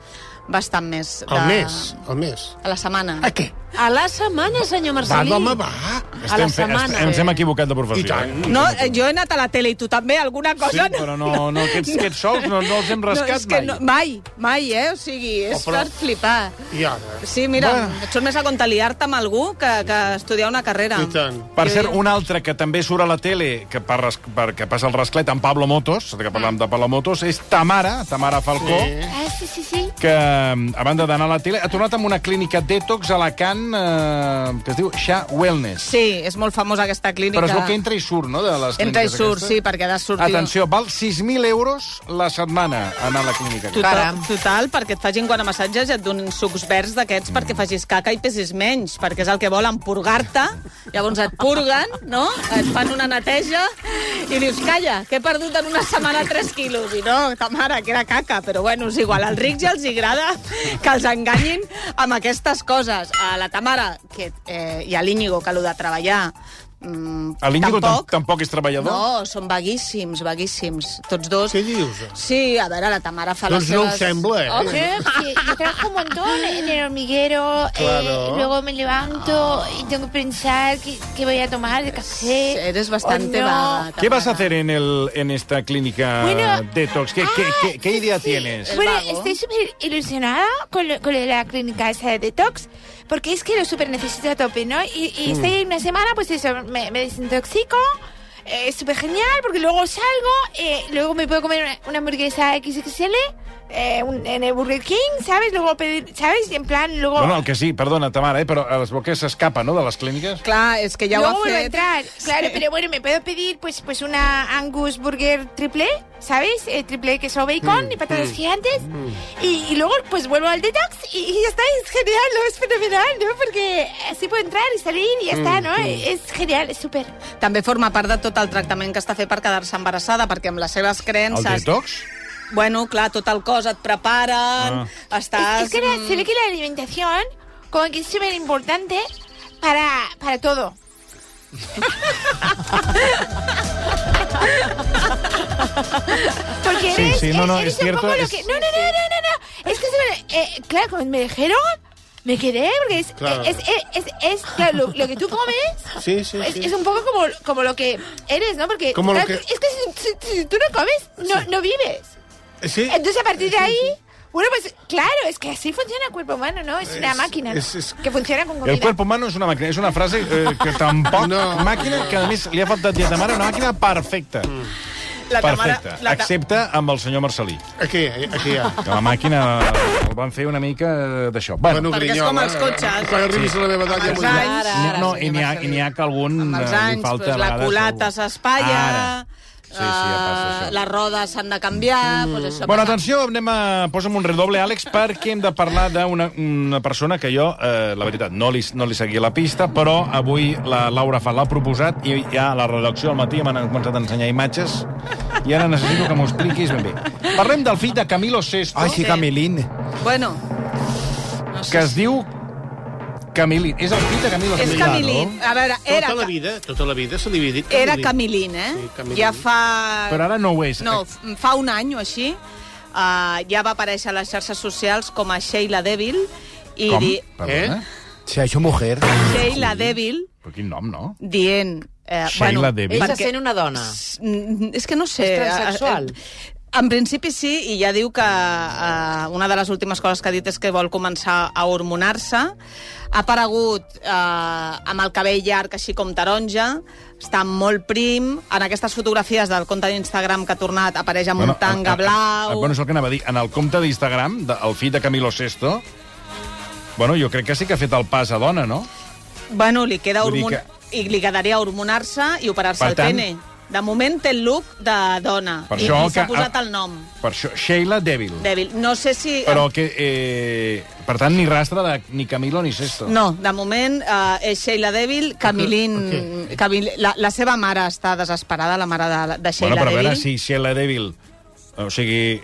Speaker 4: bastant més.
Speaker 10: Al mes, al mes.
Speaker 4: A la setmana.
Speaker 10: A què?
Speaker 1: A la setmana, senyor
Speaker 10: Va,
Speaker 1: Marcelí.
Speaker 10: home, va.
Speaker 1: A la
Speaker 3: fe-
Speaker 1: setmana.
Speaker 3: ens hem equivocat de professió.
Speaker 10: I tant.
Speaker 3: eh?
Speaker 4: No, eh, jo he anat a la tele i tu també, alguna
Speaker 3: Sí,
Speaker 4: cosa...
Speaker 3: però no, no, aquests, aquests sols no, no els hem
Speaker 4: no,
Speaker 3: rascat
Speaker 4: és que
Speaker 3: mai.
Speaker 4: no, mai, mai, eh? O sigui, és
Speaker 10: Oh, però-
Speaker 4: per flipar.
Speaker 10: I ara?
Speaker 4: Sí, mira, bueno. et surt més a compte liar-te amb algú que, que estudiar una carrera.
Speaker 10: I tant.
Speaker 3: Per cert, un altre que també surt a la tele, que, per, res- per, que passa el rasclet amb Pablo Motos, que parlàvem de Pablo Motos, és Tamara, Tamara Falcó, sí.
Speaker 1: Eh,
Speaker 11: Ah, sí, sí, sí.
Speaker 3: que, mm, a banda d'anar a la tele, ha tornat amb una clínica detox a Alacant eh, que es diu Xa Wellness.
Speaker 4: Sí, és molt famosa aquesta clínica.
Speaker 3: Però es veu que entra i surt, no?, de les
Speaker 4: Entra i
Speaker 3: clíniques
Speaker 4: surt,
Speaker 3: aquestes.
Speaker 4: sí, perquè ha de sortir...
Speaker 3: Atenció, val 6.000 euros la setmana anar a la clínica. aquesta.
Speaker 4: Total,
Speaker 1: Caram.
Speaker 4: total, perquè et facin guanamassatges i et donin sucs verds d'aquests perquè facis caca i pesis menys, perquè és el que volen, purgar-te. Llavors et purguen, no? Et fan una neteja i dius, calla, que he perdut en una setmana 3 quilos. I no, ta mare, que era caca. Però bueno, és igual, als rics ja els hi agrada que els enganyin amb aquestes coses. A la Tamara que, eh, i a l'Íñigo, que allò de treballar... Mm,
Speaker 3: A l'Índigo
Speaker 4: tampoc,
Speaker 3: tampoc. tampoc és treballador?
Speaker 4: no, són vaguíssims, vaguíssims. Tots dos.
Speaker 10: Què dius?
Speaker 4: Sí, a veure, la Tamara fa
Speaker 10: Doncs
Speaker 4: les seves...
Speaker 10: no
Speaker 4: Oh,
Speaker 10: em sembla, eh?
Speaker 4: Ok.
Speaker 11: Sí, yo trabajo un montón en el hormiguero, eh,
Speaker 10: Claro.
Speaker 11: luego me levanto y tengo que pensar qué, qué voy a tomar de café.
Speaker 4: Eres bastante
Speaker 11: o no.
Speaker 4: vaga.
Speaker 3: ¿Qué vas
Speaker 4: Tamara.
Speaker 3: a hacer en, el, en esta clínica
Speaker 11: Bueno,
Speaker 3: detox? ¿Qué, qué, qué,
Speaker 4: Ah,
Speaker 3: qué idea tienes?
Speaker 11: Bueno,
Speaker 4: vago.
Speaker 11: estoy súper ilusionada con, lo- con lo de la clínica esa de detox, porque es que lo súper necesito a tope, ¿no? Y,
Speaker 3: Mm.
Speaker 11: y estoy una semana, pues eso, me, me desintoxico, eh, es súper genial, porque luego salgo, eh, luego me puedo comer una, una hamburguesa XXL eh, un- en el Burger King, ¿sabes? Luego pedir, ¿sabes? Y en plan, luego...
Speaker 3: Bueno, el que sí, perdona, Tamara, eh, però a les boques s'escapa, no?, de les clíniques.
Speaker 4: Clar, és que ja
Speaker 11: Luego
Speaker 4: ho ha
Speaker 11: vuelvo a
Speaker 4: fet.
Speaker 11: entrar, claro, pero bueno, me puedo pedir pues pues una Angus Burger triple, ¿sabéis? Eh, triple queso bacon y patatas gigantes. Y, y luego pues vuelvo al detox y, y ya está, es genial, ¿no? es fenomenal, ¿no? Porque así puedo entrar y salir y ya está, ¿no? Es genial, es súper.
Speaker 4: També forma part de tot el tractament que està fet per quedar-se embarassada, perquè amb les seves
Speaker 3: El
Speaker 4: creences...
Speaker 3: detox?
Speaker 4: Bueno, clar, tot el cos et preparen,
Speaker 11: Es,
Speaker 4: estàs...
Speaker 11: es que la-
Speaker 4: mm,
Speaker 11: se ve que la alimentación como que es súper importante para, para todo. Porque
Speaker 3: Sí,
Speaker 11: eres,
Speaker 3: sí, no, no,
Speaker 11: eres
Speaker 3: es
Speaker 11: un
Speaker 3: cierto,
Speaker 11: poco lo
Speaker 3: es-
Speaker 11: que- No, no, no, no, no, no. Es que se me- eh, claro, cuando me dijeron, me quedé, porque es, eh,
Speaker 10: Claro.
Speaker 11: es, es, es- es, claro, lo, lo que tú comes
Speaker 10: Sí, sí,
Speaker 11: es,
Speaker 10: sí.
Speaker 11: es un poco como, como lo que eres, ¿no? Porque
Speaker 10: Como lo
Speaker 11: claro,
Speaker 10: que-
Speaker 11: es que si, si- si tú no comes, no, no vives.
Speaker 10: Sí.
Speaker 11: Entonces, a partir de ahí, bueno, pues claro, es que así funciona el cuerpo humano, ¿no? Es una
Speaker 10: Es-
Speaker 11: máquina
Speaker 10: es- es-
Speaker 11: que funciona con comida.
Speaker 3: El cuerpo humano és una màquina. És una frase eh, que tampoc...
Speaker 10: No.
Speaker 3: Màquina que, a més, li ha faltat dir a Tamara una màquina perfecta.
Speaker 10: Mm.
Speaker 4: la Tamara-
Speaker 3: Perfecta.
Speaker 4: la Ta-
Speaker 3: Excepte amb el senyor Marcelí.
Speaker 10: Aquí, aquí hi ha.
Speaker 3: Que la màquina el van fer una mica eh, d'això. Bueno,
Speaker 4: Perquè és
Speaker 10: Grinyola,
Speaker 4: com els cotxes.
Speaker 10: Quan arribis a la meva edat ja
Speaker 4: els
Speaker 10: m'ho diràs.
Speaker 4: anys,
Speaker 1: Ara, ara,
Speaker 3: no, i
Speaker 1: senyor
Speaker 3: n'hi ha, i
Speaker 1: Marcelí.
Speaker 3: n'hi ha que algun
Speaker 4: amb els
Speaker 3: eh, li
Speaker 4: anys,
Speaker 3: falta
Speaker 4: doncs,
Speaker 3: a
Speaker 4: la
Speaker 3: vegades,
Speaker 4: culata
Speaker 3: segur.
Speaker 4: s'espatlla,
Speaker 3: Ara. Sí, sí, ja passa
Speaker 4: eh,
Speaker 3: això.
Speaker 4: les rodes s'han de canviar... Doncs això
Speaker 3: Bueno,
Speaker 4: passa.
Speaker 3: atenció, anem a... Posa'm un redoble, Àlex, perquè hem de parlar d'una una persona que jo, eh, la veritat, no li, no li seguia la pista, però avui la Laura Fa l'ha proposat i ja a la redacció al matí m'han començat a ensenyar imatges i ara necessito que m'ho expliquis ben bé. Parlem del fill de Camilo VI,
Speaker 5: Ay, sí, Camilín.
Speaker 4: Bueno,
Speaker 3: Eh, que es diu Camilín. És el fill de Camilo
Speaker 4: És
Speaker 3: Camilín.
Speaker 4: Camilín. A veure, era,
Speaker 10: Tota la vida, tota la vida s'ha dividit.
Speaker 4: era Camilín, eh?
Speaker 10: Sí, Camilín.
Speaker 4: Ja fa...
Speaker 3: Però ara no ho és.
Speaker 4: No, f- fa un any o així uh, ja va aparèixer a les xarxes socials com a Sheila Devil i
Speaker 3: Com?
Speaker 4: di...
Speaker 3: Perdona.
Speaker 12: Se ha hecho mujer.
Speaker 4: Sheila Devil
Speaker 3: Però quin nom, no?
Speaker 4: dient... Eh,
Speaker 3: Sheila Devil.
Speaker 1: Ell se
Speaker 4: perquè-
Speaker 1: sent una dona.
Speaker 4: Mm, És que no sé...
Speaker 1: És transexual?
Speaker 4: eh, eh, En principi sí, i ja diu que eh, una de les últimes coses que ha dit és que vol començar a hormonar-se. Ha aparegut eh, amb el cabell llarg així com taronja, està molt prim. En aquestes fotografies del compte d'Instagram que ha tornat apareix amb bueno,
Speaker 3: eh,
Speaker 4: un tanga
Speaker 3: a- a-
Speaker 4: blau...
Speaker 3: a- Bueno, és el que anava a dir. En el compte d'Instagram, de- el fill de Camilo Sesto, bueno, jo crec que sí que ha fet el pas a dona, no?
Speaker 4: Bueno, li queda
Speaker 3: Vull dir
Speaker 4: hormon... i li quedaria hormonar-se i operar-se
Speaker 3: Per
Speaker 4: el
Speaker 3: tant-
Speaker 4: pene. De moment té el look de dona
Speaker 3: Per
Speaker 4: i,
Speaker 3: això
Speaker 4: i s'ha
Speaker 3: que-
Speaker 4: posat
Speaker 3: a-
Speaker 4: el nom,
Speaker 3: Per això, Sheila Devil.
Speaker 4: dèbil. No sé si...
Speaker 3: Però que... Eh, per tant, ni rastre de ni Camilo ni Sesto.
Speaker 4: No, de moment eh, és Sheila Devil, Camilín... Camil... La, la seva mare està desesperada, la mare de, de
Speaker 3: Bueno,
Speaker 4: Sheila
Speaker 3: però a veure
Speaker 4: Devil.
Speaker 3: si Sheila Devil... O sigui,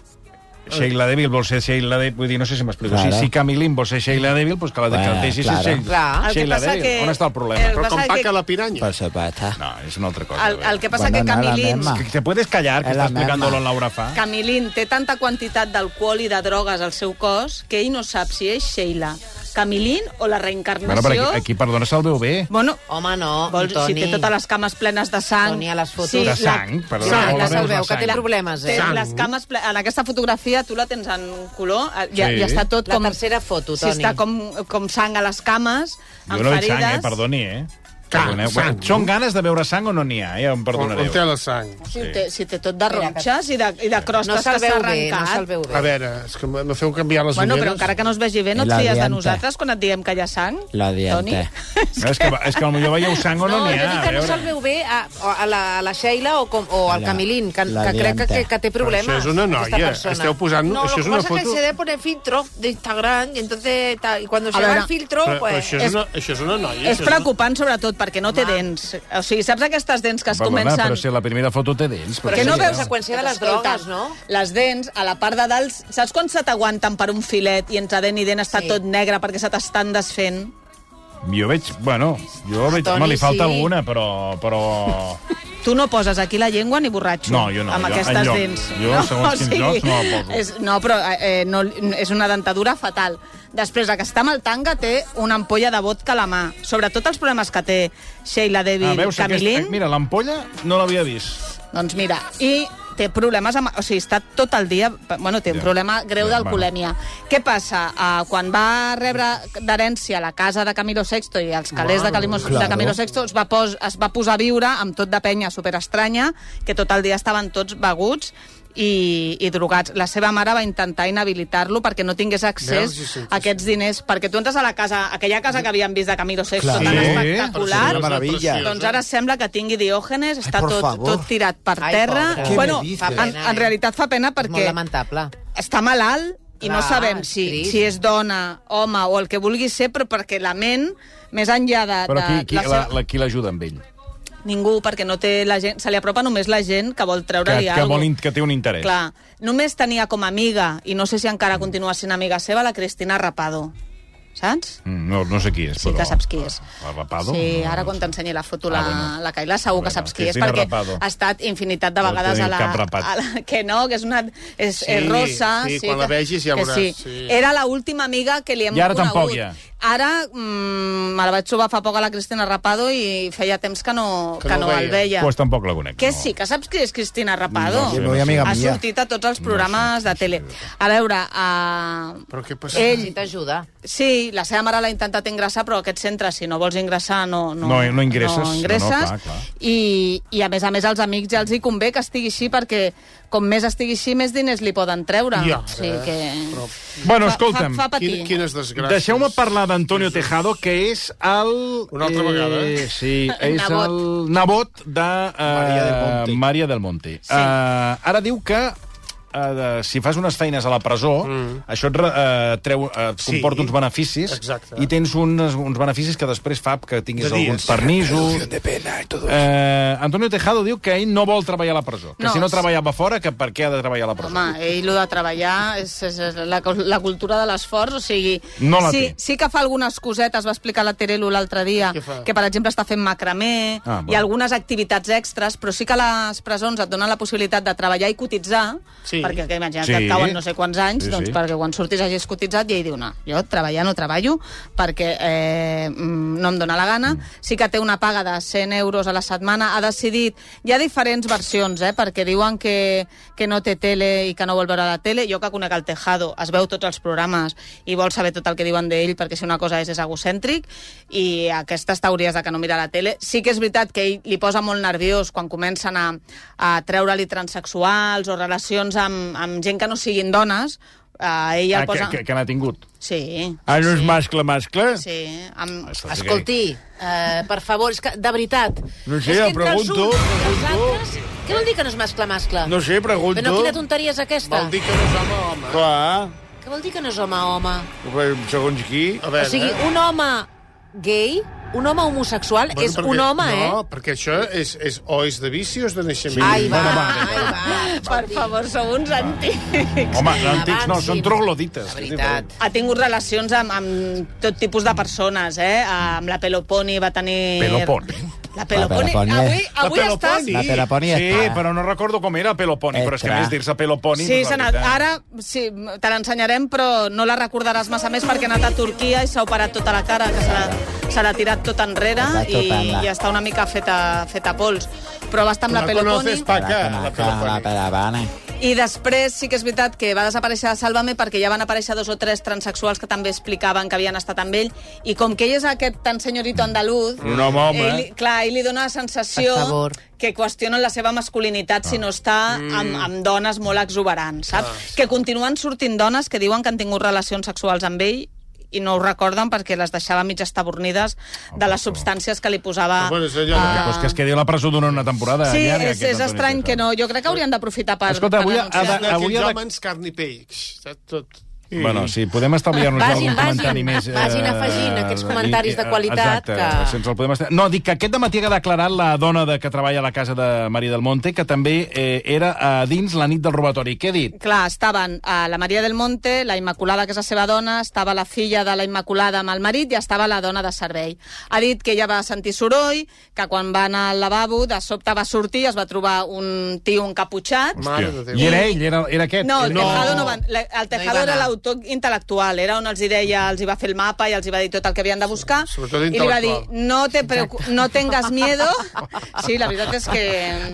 Speaker 3: Sheila Devil vol ser Sheila Devil... Vull dir, no sé si m'explico.
Speaker 12: Claro.
Speaker 3: Si, si Camilín vol ser Sheila Devil, doncs que la
Speaker 12: Bueno,
Speaker 3: bueno, deixi
Speaker 12: claro.
Speaker 3: ser Sheila,
Speaker 1: Clar.
Speaker 4: El que
Speaker 3: Sheila
Speaker 4: passa
Speaker 3: Devil.
Speaker 4: que-
Speaker 3: On està el problema?
Speaker 4: el
Speaker 10: Però com
Speaker 4: passa que-
Speaker 10: paca la piranya.
Speaker 12: Por supuesto.
Speaker 3: No, és una altra cosa.
Speaker 4: El, el que passa
Speaker 12: Bueno,
Speaker 4: que
Speaker 12: no, la
Speaker 4: Camilín...
Speaker 12: mema.
Speaker 3: Que te puedes callar, que
Speaker 12: És la
Speaker 3: està explicant-lo
Speaker 12: merda.
Speaker 3: en Laura fa.
Speaker 4: Camilín té tanta quantitat d'alcohol i de drogues al seu cos que ell no sap si és Sheila, Camilín o la
Speaker 3: Bueno,
Speaker 4: reencarnació...
Speaker 3: però aquí, aquí perdona, se'l veu bé.
Speaker 4: Bueno,
Speaker 1: Home, no,
Speaker 4: Vols, si
Speaker 1: Toni.
Speaker 4: té totes les cames plenes de sang...
Speaker 1: Toni, a les fotos.
Speaker 3: De
Speaker 1: la-
Speaker 3: sang, perdó.
Speaker 1: Sang,
Speaker 3: no
Speaker 1: que
Speaker 3: la
Speaker 1: se'l
Speaker 3: veus la
Speaker 1: veu, que té
Speaker 3: sang.
Speaker 1: problemes,
Speaker 4: Té
Speaker 1: eh?
Speaker 4: les cames ple... En aquesta fotografia tu la tens en color, eh, ja,
Speaker 3: Sí.
Speaker 4: sí. ja està tot
Speaker 1: La
Speaker 4: com...
Speaker 1: tercera foto,
Speaker 4: Sí,
Speaker 1: Toni.
Speaker 4: està com, com sang a les cames,
Speaker 3: Jo
Speaker 4: amb
Speaker 3: no veig
Speaker 4: ferides...
Speaker 3: sang, eh? Perdoni, eh?
Speaker 10: Clar,
Speaker 3: Perdoneu.
Speaker 10: sang.
Speaker 3: Són ganes de veure sang o no n'hi ha, ja em
Speaker 10: On, on té
Speaker 3: perdonareu.
Speaker 10: la sang?
Speaker 4: Si, ho té, si té tot de ronxes i de, i de crostes
Speaker 1: No
Speaker 4: que
Speaker 1: se'l
Speaker 4: s'ha
Speaker 1: veu bé,
Speaker 4: arrencat.
Speaker 1: no se'l veu bé.
Speaker 10: A veure, és que me me feu canviar les
Speaker 4: Bueno,
Speaker 10: ulleres.
Speaker 4: però encara que no es vegi bé, no
Speaker 12: I
Speaker 4: et
Speaker 12: la
Speaker 4: fies de
Speaker 12: dianta.
Speaker 4: nosaltres quan et diem que hi ha sang,
Speaker 12: La
Speaker 4: Toni?
Speaker 12: dianta.
Speaker 3: No, és que, és que potser veieu sang o no
Speaker 1: No,
Speaker 3: n'hi
Speaker 1: jo
Speaker 3: ha.
Speaker 1: dic que
Speaker 3: a
Speaker 1: no
Speaker 3: veure.
Speaker 1: se'l veu bé a, a, la, a la Sheila o, com, o al
Speaker 12: La-
Speaker 1: Camilín, que,
Speaker 12: la
Speaker 1: que crec que,
Speaker 12: dianta.
Speaker 1: que, que té problemes.
Speaker 10: Això és una
Speaker 1: aquesta
Speaker 10: noia.
Speaker 1: persona.
Speaker 10: Esteu posant...
Speaker 9: No,
Speaker 10: això
Speaker 9: lo
Speaker 10: és
Speaker 9: que
Speaker 10: una
Speaker 9: pasa es
Speaker 10: foto...
Speaker 9: que se debe poner filtro de Instagram y entonces tal, y cuando se
Speaker 4: A
Speaker 9: va
Speaker 4: ver,
Speaker 9: el filtro,
Speaker 10: Però, però
Speaker 9: pues...
Speaker 10: això, és una, això és una noia.
Speaker 4: És
Speaker 10: això
Speaker 4: preocupant, sobretot, perquè no té dents. O sigui, saps aquestes dents que es
Speaker 3: Perdona,
Speaker 4: comencen...
Speaker 3: però si la primera foto té dents.
Speaker 1: Però
Speaker 4: que
Speaker 1: això
Speaker 4: no
Speaker 1: és
Speaker 4: veus-
Speaker 1: conseqüència de les drogues, no?
Speaker 4: Les dents, a la part de dalt, saps quan se t'aguanten per un filet i entre dent i dent està
Speaker 1: Sí.
Speaker 4: tot negre perquè se t'estan desfent?
Speaker 3: Jo veig... Bueno, jo veig...
Speaker 1: Toni,
Speaker 3: Home, li falta
Speaker 1: sí.
Speaker 3: alguna, però... però...
Speaker 4: Tu no poses aquí la llengua ni borratxo.
Speaker 3: No, jo no,
Speaker 4: Amb
Speaker 3: jo
Speaker 4: aquestes
Speaker 3: enlloc.
Speaker 4: dents.
Speaker 3: Jo, segons quins llocs, no la poso.
Speaker 4: És, no, però eh, no, és una dentadura fatal. Després, la que està amb el tanga té una ampolla de vodka a la mà. Sobretot els problemes que té Sheila Devil
Speaker 3: Ah, veus,
Speaker 4: Camilín.
Speaker 3: aquesta, mira, l'ampolla no l'havia vist.
Speaker 4: Doncs mira, i té problemes amb... O sigui, està tot el dia... Bueno, té un
Speaker 3: Ja.
Speaker 4: problema greu
Speaker 3: Ja,
Speaker 4: d'alcoholèmia. Què passa? Uh, quan va rebre d'herència la casa de Camilo VI i els calés de, Calimo, de
Speaker 12: Claro.
Speaker 4: Camilo VI es va, pos, es va posar a viure amb tot de penya superestranya, que tot el dia estaven tots beguts i, i drogats. La seva mare va intentar inhabilitar-lo perquè no tingués accés
Speaker 10: Veus, sí, sí, sí,
Speaker 4: a aquests diners, perquè tu entres a la casa, aquella casa que havíem vist de Camilo VI
Speaker 12: Clar.
Speaker 4: tan
Speaker 12: Sí,
Speaker 10: però
Speaker 4: espectacular,
Speaker 10: sí,
Speaker 12: Una maravilla.
Speaker 10: preciosa.
Speaker 4: doncs ara sembla que tingui diògenes, està
Speaker 12: por
Speaker 4: tot,
Speaker 12: favor.
Speaker 4: tot tirat per
Speaker 1: Ai,
Speaker 4: terra.
Speaker 1: pobre.
Speaker 12: Què
Speaker 4: bueno,
Speaker 12: me dices?
Speaker 4: fa en,
Speaker 1: Pena, eh?
Speaker 4: en realitat fa pena
Speaker 1: És molt
Speaker 4: perquè
Speaker 1: lamentable.
Speaker 4: està malalt i no
Speaker 1: Clar,
Speaker 4: sabem
Speaker 1: és
Speaker 4: si,
Speaker 1: trist.
Speaker 4: si és dona, home o el que vulgui ser, però perquè la ment, més enllà de...
Speaker 3: Però
Speaker 4: de,
Speaker 3: qui, qui,
Speaker 4: la
Speaker 3: la,
Speaker 4: seva-
Speaker 3: la, qui l'ajuda amb ell?
Speaker 4: Ningú, perquè no té la gent... Se li apropa només la gent que vol
Speaker 3: Que,
Speaker 4: treure-li
Speaker 3: que,
Speaker 4: alguna
Speaker 3: vol, in- que té un interès.
Speaker 4: Clar, només tenia com a amiga, i no sé si
Speaker 3: Mm.
Speaker 4: encara continua sent amiga seva, la Cristina Rapado. Saps?
Speaker 3: Mm, No, no sé qui és,
Speaker 4: Sí
Speaker 3: però...
Speaker 4: que saps qui és.
Speaker 3: El Rapado?
Speaker 4: Sí,
Speaker 3: No,
Speaker 4: ara
Speaker 3: no
Speaker 4: quan
Speaker 3: sé.
Speaker 4: t'ensenyi la foto la,
Speaker 3: Ah, bueno.
Speaker 4: la Caila segur
Speaker 3: Bueno,
Speaker 4: que saps qui és,
Speaker 3: Cristina
Speaker 4: perquè
Speaker 3: Rapado.
Speaker 4: ha estat infinitat de
Speaker 3: No
Speaker 4: vegades
Speaker 3: teniu
Speaker 4: a la,
Speaker 3: cap rapat.
Speaker 4: a la... Que no, que és una... És,
Speaker 10: Sí,
Speaker 4: és rosa.
Speaker 10: sí, quan la vegis ja
Speaker 4: que
Speaker 10: veuràs,
Speaker 4: Sí.
Speaker 10: sí.
Speaker 4: Era l'última amiga que li hem
Speaker 3: I ara
Speaker 4: conegut.
Speaker 3: tampoc, ja.
Speaker 4: Ara mm, me la vaig trobar fa poc a la Cristina Rapado i feia temps que no, que
Speaker 10: Que
Speaker 4: no,
Speaker 10: no
Speaker 4: el
Speaker 10: veia.
Speaker 4: veia.
Speaker 3: Pues tampoc la conec.
Speaker 4: Que
Speaker 3: no.
Speaker 4: sí, que saps qui és Cristina Rapado?
Speaker 3: No sé,
Speaker 12: Sí, muy amiga
Speaker 4: ha
Speaker 12: mía.
Speaker 4: sortit a tots els programes
Speaker 3: No sé,
Speaker 4: de tele. A veure, uh,
Speaker 10: Però què passa?
Speaker 4: ell
Speaker 1: Necessita ajuda.
Speaker 4: Sí, la seva mare l'ha intentat ingressar, però aquest centre, si no vols ingressar, no, no,
Speaker 3: No, no ingresses.
Speaker 4: No ingresses.
Speaker 3: No, no, clar, clar.
Speaker 4: I, I, a més a més, als amics ja els hi convé que estigui així, perquè com més estigui així, més diners li poden treure.
Speaker 10: Ja,
Speaker 4: o sigui que...
Speaker 10: Però
Speaker 3: Bueno,
Speaker 4: Fa-
Speaker 3: escolta'm,
Speaker 4: Fa, fa patir.
Speaker 10: quin, quines desgràcies.
Speaker 3: deixeu-me parlar d'Antonio Tejado, que és el...
Speaker 10: Una altra vegada, eh?
Speaker 3: Sí, és
Speaker 4: Nebot.
Speaker 3: el nebot de... eh,
Speaker 12: María del Monte.
Speaker 3: María del Monte. Eh, ara diu que eh, si fas unes feines a la presó, mm. això et, re- eh, treu, eh, et
Speaker 13: Sí.
Speaker 3: comporta uns beneficis
Speaker 13: Exacte.
Speaker 3: i tens uns, uns beneficis que després fa que tinguis
Speaker 13: De dies.
Speaker 3: alguns permisos.
Speaker 13: Reducción de pena i tot
Speaker 3: Eh, Antonio Tejado diu que ell no vol treballar a la presó, que
Speaker 4: No,
Speaker 3: si no
Speaker 4: és-
Speaker 3: treballava fora, que per què ha de treballar a la presó.
Speaker 4: Home, ell el de treballar és, és, és la, la cultura de l'esforç, o sigui...
Speaker 3: No la
Speaker 4: sí,
Speaker 3: té.
Speaker 4: sí que fa algunes cosetes, va explicar la Terelu l'altre dia,
Speaker 10: fa?
Speaker 4: que per exemple està fent macramé
Speaker 10: Ah, bueno.
Speaker 4: i algunes activitats extres, però sí que les presons et donen la possibilitat de treballar i cotitzar,
Speaker 10: Sí.
Speaker 4: perquè que, imagina't
Speaker 10: Sí.
Speaker 4: que et cauen no sé quants anys,
Speaker 10: Sí,
Speaker 4: doncs
Speaker 10: sí.
Speaker 4: perquè quan surtis hagis cotitzat i ell diu, no, jo treballar no treballo perquè eh, mm, no em dóna la gana. Sí que té una paga de 100 euros a la setmana, ha decidit... Hi ha diferents versions, eh, perquè diuen que, que no té tele i que no vol veure la tele. Jo que conec el Tejado, es veu tots els programes i vol saber tot el que diuen d'ell perquè si una cosa és, és egocèntric i aquestes teories de que no mira la tele. Sí que és veritat que ell li posa molt nerviós quan comencen a, a treure-li transexuals o relacions amb, amb gent que no siguin dones, Uh, ell el
Speaker 13: Ah, que-
Speaker 4: posa...
Speaker 13: que-
Speaker 3: que n'ha tingut.
Speaker 4: Sí.
Speaker 13: Ah, no és mascle, mascle?
Speaker 4: Sí, amb...
Speaker 1: Escolti, eh, per favor, és que, de veritat...
Speaker 13: No sé,
Speaker 1: és que
Speaker 13: jo
Speaker 1: entre
Speaker 13: pregunto,
Speaker 1: els uns i els altres, Què vol dir que no és mascle-mascle?
Speaker 13: No sé, pregunto.
Speaker 1: Però quina tonteria és aquesta?
Speaker 13: Vol dir que no és home-home. Clar,
Speaker 1: Què vol dir que no és home-home?
Speaker 13: però segons qui. A
Speaker 1: O sigui, un home gay, un home homosexual,
Speaker 13: Bueno,
Speaker 1: és
Speaker 13: perquè-
Speaker 1: un home,
Speaker 13: no,
Speaker 1: eh?
Speaker 10: No, perquè això és, és, o és de vici o és de naixement.
Speaker 1: Ai, va, Bueno,
Speaker 4: Per favor, sou uns antics.
Speaker 3: Home, antics no, són troglodites. La veritat.
Speaker 4: Ha tingut relacions amb, amb tot tipus de persones, eh? Amb la Peloponi va tenir...
Speaker 3: Peloponi.
Speaker 4: La Peloponi. Avui, avui estàs...
Speaker 3: Sí, però no recordo com era Peloponi, però és que a més dir-se Peloponi...
Speaker 4: Sí,
Speaker 3: doncs, la
Speaker 4: se n'ha-
Speaker 3: veritat.
Speaker 4: ara sí, te l'ensenyarem, però no la recordaràs massa més perquè ha anat a Turquia i s'ha operat tota la cara, que se l'ha- se l'ha tirat tot enrere
Speaker 10: Va
Speaker 4: i,
Speaker 10: topant-la.
Speaker 4: i està una mica feta, feta pols. Però va estar amb la Peloponi... I després sí que és veritat que va desaparèixer de Sálvame perquè ja van aparèixer dos o tres transexuals que també explicaven que havien estat amb ell i com que ell és aquest tan senyorito andaluz...
Speaker 13: Un home, home,
Speaker 4: ell,
Speaker 13: eh?
Speaker 4: Clar, ell li dona la sensació
Speaker 13: A favor.
Speaker 4: que qüestionen la seva masculinitat
Speaker 3: Ah.
Speaker 4: si no està
Speaker 3: Mm.
Speaker 4: amb, amb dones molt exuberants, saps? Que continuen sortint dones que diuen que han tingut relacions sexuals amb ell i no ho recorden perquè les deixava mig estabornides de les substàncies que li posava...
Speaker 3: Ah, doncs que es quedi a la presó durant una temporada.
Speaker 4: Sí,
Speaker 3: llarga,
Speaker 4: és, és
Speaker 3: aquest Antoni
Speaker 4: estrany que no. Jo crec que haurien d'aprofitar per...
Speaker 3: Escolta, avui
Speaker 4: per
Speaker 3: ha de-
Speaker 4: denunciar.
Speaker 3: Ah, avui ha de-
Speaker 10: Hòmens, carn i peix. Saps? Tot.
Speaker 3: Bueno, sí, podem estalviar-nos ja
Speaker 10: Vagin,
Speaker 3: algun
Speaker 10: vagin,
Speaker 3: comentari més... eh,
Speaker 10: vagin afegint
Speaker 1: aquests comentaris de qualitat
Speaker 3: Exacte,
Speaker 1: que-
Speaker 3: sense el podem estar... No, dic que aquest dematí ha declarat la dona de que treballa a la casa de Maria del Monte, que també eh, era a dins la nit del robatori. Què he dit?
Speaker 4: Clar, estaven eh, la Maria del Monte, la Immaculada, que és la seva dona, estava la filla de la Immaculada amb el marit i estava la dona de servei. Ha dit que ella va sentir soroll, que quan va anar al lavabo, de sobte va sortir i es va trobar un tio encaputxat.
Speaker 10: Eh,
Speaker 3: I era ell, era, era aquest.
Speaker 4: No, el
Speaker 3: era...
Speaker 4: Tejado, no va, la- el tejado
Speaker 3: va
Speaker 4: era
Speaker 3: anar.
Speaker 4: l'autor intel·lectual, era on els hi deia, els hi va fer el mapa i els hi va dir tot el que havien de buscar.
Speaker 10: Sobretot
Speaker 4: I li va dir,
Speaker 10: intel·lectual.
Speaker 4: no, te preocu- no tengas miedo. Sí, la veritat és que...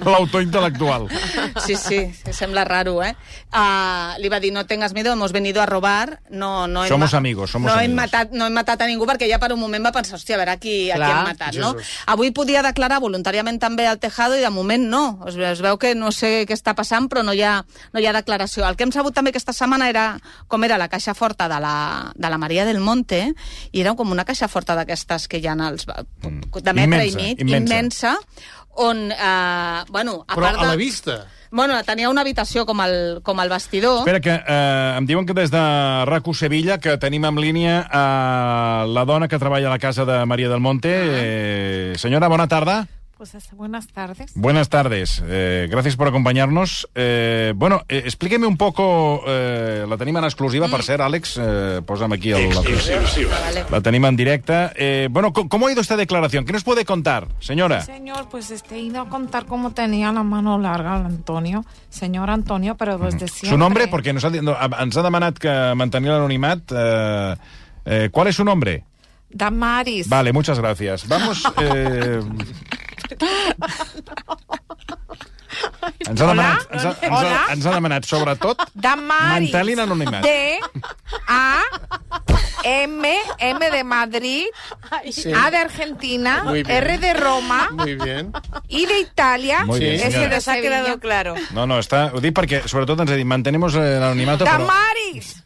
Speaker 3: L'autor intel·lectual.
Speaker 4: Sí, sí, sembla raro, eh? Uh, li va dir, no tengas miedo, hemos venido a robar. No, no hem
Speaker 3: Somos
Speaker 4: ma-
Speaker 3: amigos, somos
Speaker 4: no Hem
Speaker 3: amigos.
Speaker 4: matat, no hem matat a ningú perquè ja per un moment va pensar, hòstia, a veure a qui, a qui
Speaker 1: Clar.
Speaker 4: hem matat, no?
Speaker 1: Jesús.
Speaker 4: Avui podia declarar voluntàriament també al Tejado i de moment no. Es, es veu que no sé què està passant, però no hi, ha, no hi ha declaració. El que hem sabut també aquesta setmana era com era la caixa forta de la, de la Maria del Monte i era com una caixa forta d'aquestes que hi ha als, de metre
Speaker 10: Mm. Immensa,
Speaker 4: i mig,
Speaker 10: immensa.
Speaker 4: immensa on, eh, bueno, a
Speaker 10: Però
Speaker 4: part de...
Speaker 10: a la vista.
Speaker 4: Bueno, tenia una habitació com el, com el vestidor.
Speaker 3: Espera, que eh, em diuen que des de RACU Sevilla que tenim en línia eh, la dona que treballa a la casa de Maria del Monte. Eh, senyora, bona tarda.
Speaker 8: Pues hasta buenas tardes.
Speaker 3: Buenas tardes. Eh, gracias por acompañarnos. Eh, bueno, eh, explíqueme un poco... Eh, la tenim en exclusiva, mm. per cert, Àlex. Eh, posa'm aquí el...
Speaker 8: Exclusiva. Vale.
Speaker 3: La tenim en directe. Eh, bueno, co- ¿cómo ha ido esta declaración? ¿Qué nos puede contar, señora?
Speaker 8: Señor, pues este, he ido a contar cómo tenía la mano larga el Antonio, señor Antonio, pero desde siempre.
Speaker 3: Su nombre, porque nos ha, di- no, a- ens ha demanat que mantenir l'anonimat. Eh, eh, ¿Cuál es su nombre?
Speaker 8: Damaris.
Speaker 3: Vale, muchas gracias. Vamos... Eh, ens ha demanat, ens ha, ens ha,
Speaker 8: Hola?
Speaker 3: ens ha demanat sobretot
Speaker 8: Damaris.
Speaker 3: Mantenir l'anonimat.
Speaker 8: D A M M de Madrid,
Speaker 10: Sí.
Speaker 8: A Ah, de Argentina,
Speaker 10: Muy bien.
Speaker 8: R de Roma,
Speaker 10: Muy bien.
Speaker 8: I de Italia,
Speaker 3: Muy bien,
Speaker 8: S
Speaker 3: señora.
Speaker 8: de
Speaker 1: S'ha
Speaker 8: Sevilla.
Speaker 1: quedado
Speaker 8: claro.
Speaker 3: No, no, està, ho dic perquè sobretot ens ha dit mantenemos eh, l'anonimato, però...
Speaker 8: Damaris.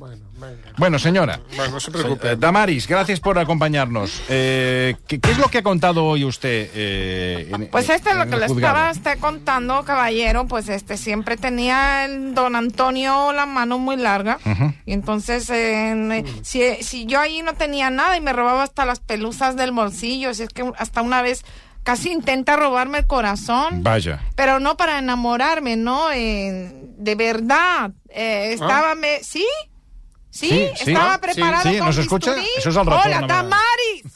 Speaker 10: Bueno, venga.
Speaker 3: Bueno, señora.
Speaker 10: Bueno, no se preocupe.
Speaker 3: Eh, Damaris, gracias por acompañarnos. Eh, ¿qué, qué es lo que ha contado hoy usted? eh, en-
Speaker 8: Pues esto es lo
Speaker 3: en
Speaker 8: que
Speaker 3: el
Speaker 8: le
Speaker 3: juzgado?
Speaker 8: estaba usted contando, caballero. Pues este siempre tenía el don Antonio la mano muy larga.
Speaker 14: Ujú.
Speaker 8: Y entonces, eh, me- si, si yo ahí no tenía nada y me robaba hasta las pelusas del bolsillo, si es que hasta una vez casi intenta robarme el corazón.
Speaker 3: Vaya.
Speaker 8: Pero no para enamorarme, ¿no? Eh, de
Speaker 3: Ah.
Speaker 8: verdad. Eh, estaba, me, ¿sí?
Speaker 3: Sí,
Speaker 8: ¿sí?
Speaker 3: sí.
Speaker 8: Estaba
Speaker 3: Ah, sí.
Speaker 8: preparado
Speaker 3: Sí,
Speaker 8: con
Speaker 3: ¿nos escucha?
Speaker 8: bisturí.
Speaker 3: Eso es el retorn,
Speaker 8: ¡Hola,
Speaker 3: amada.
Speaker 8: Tamaris!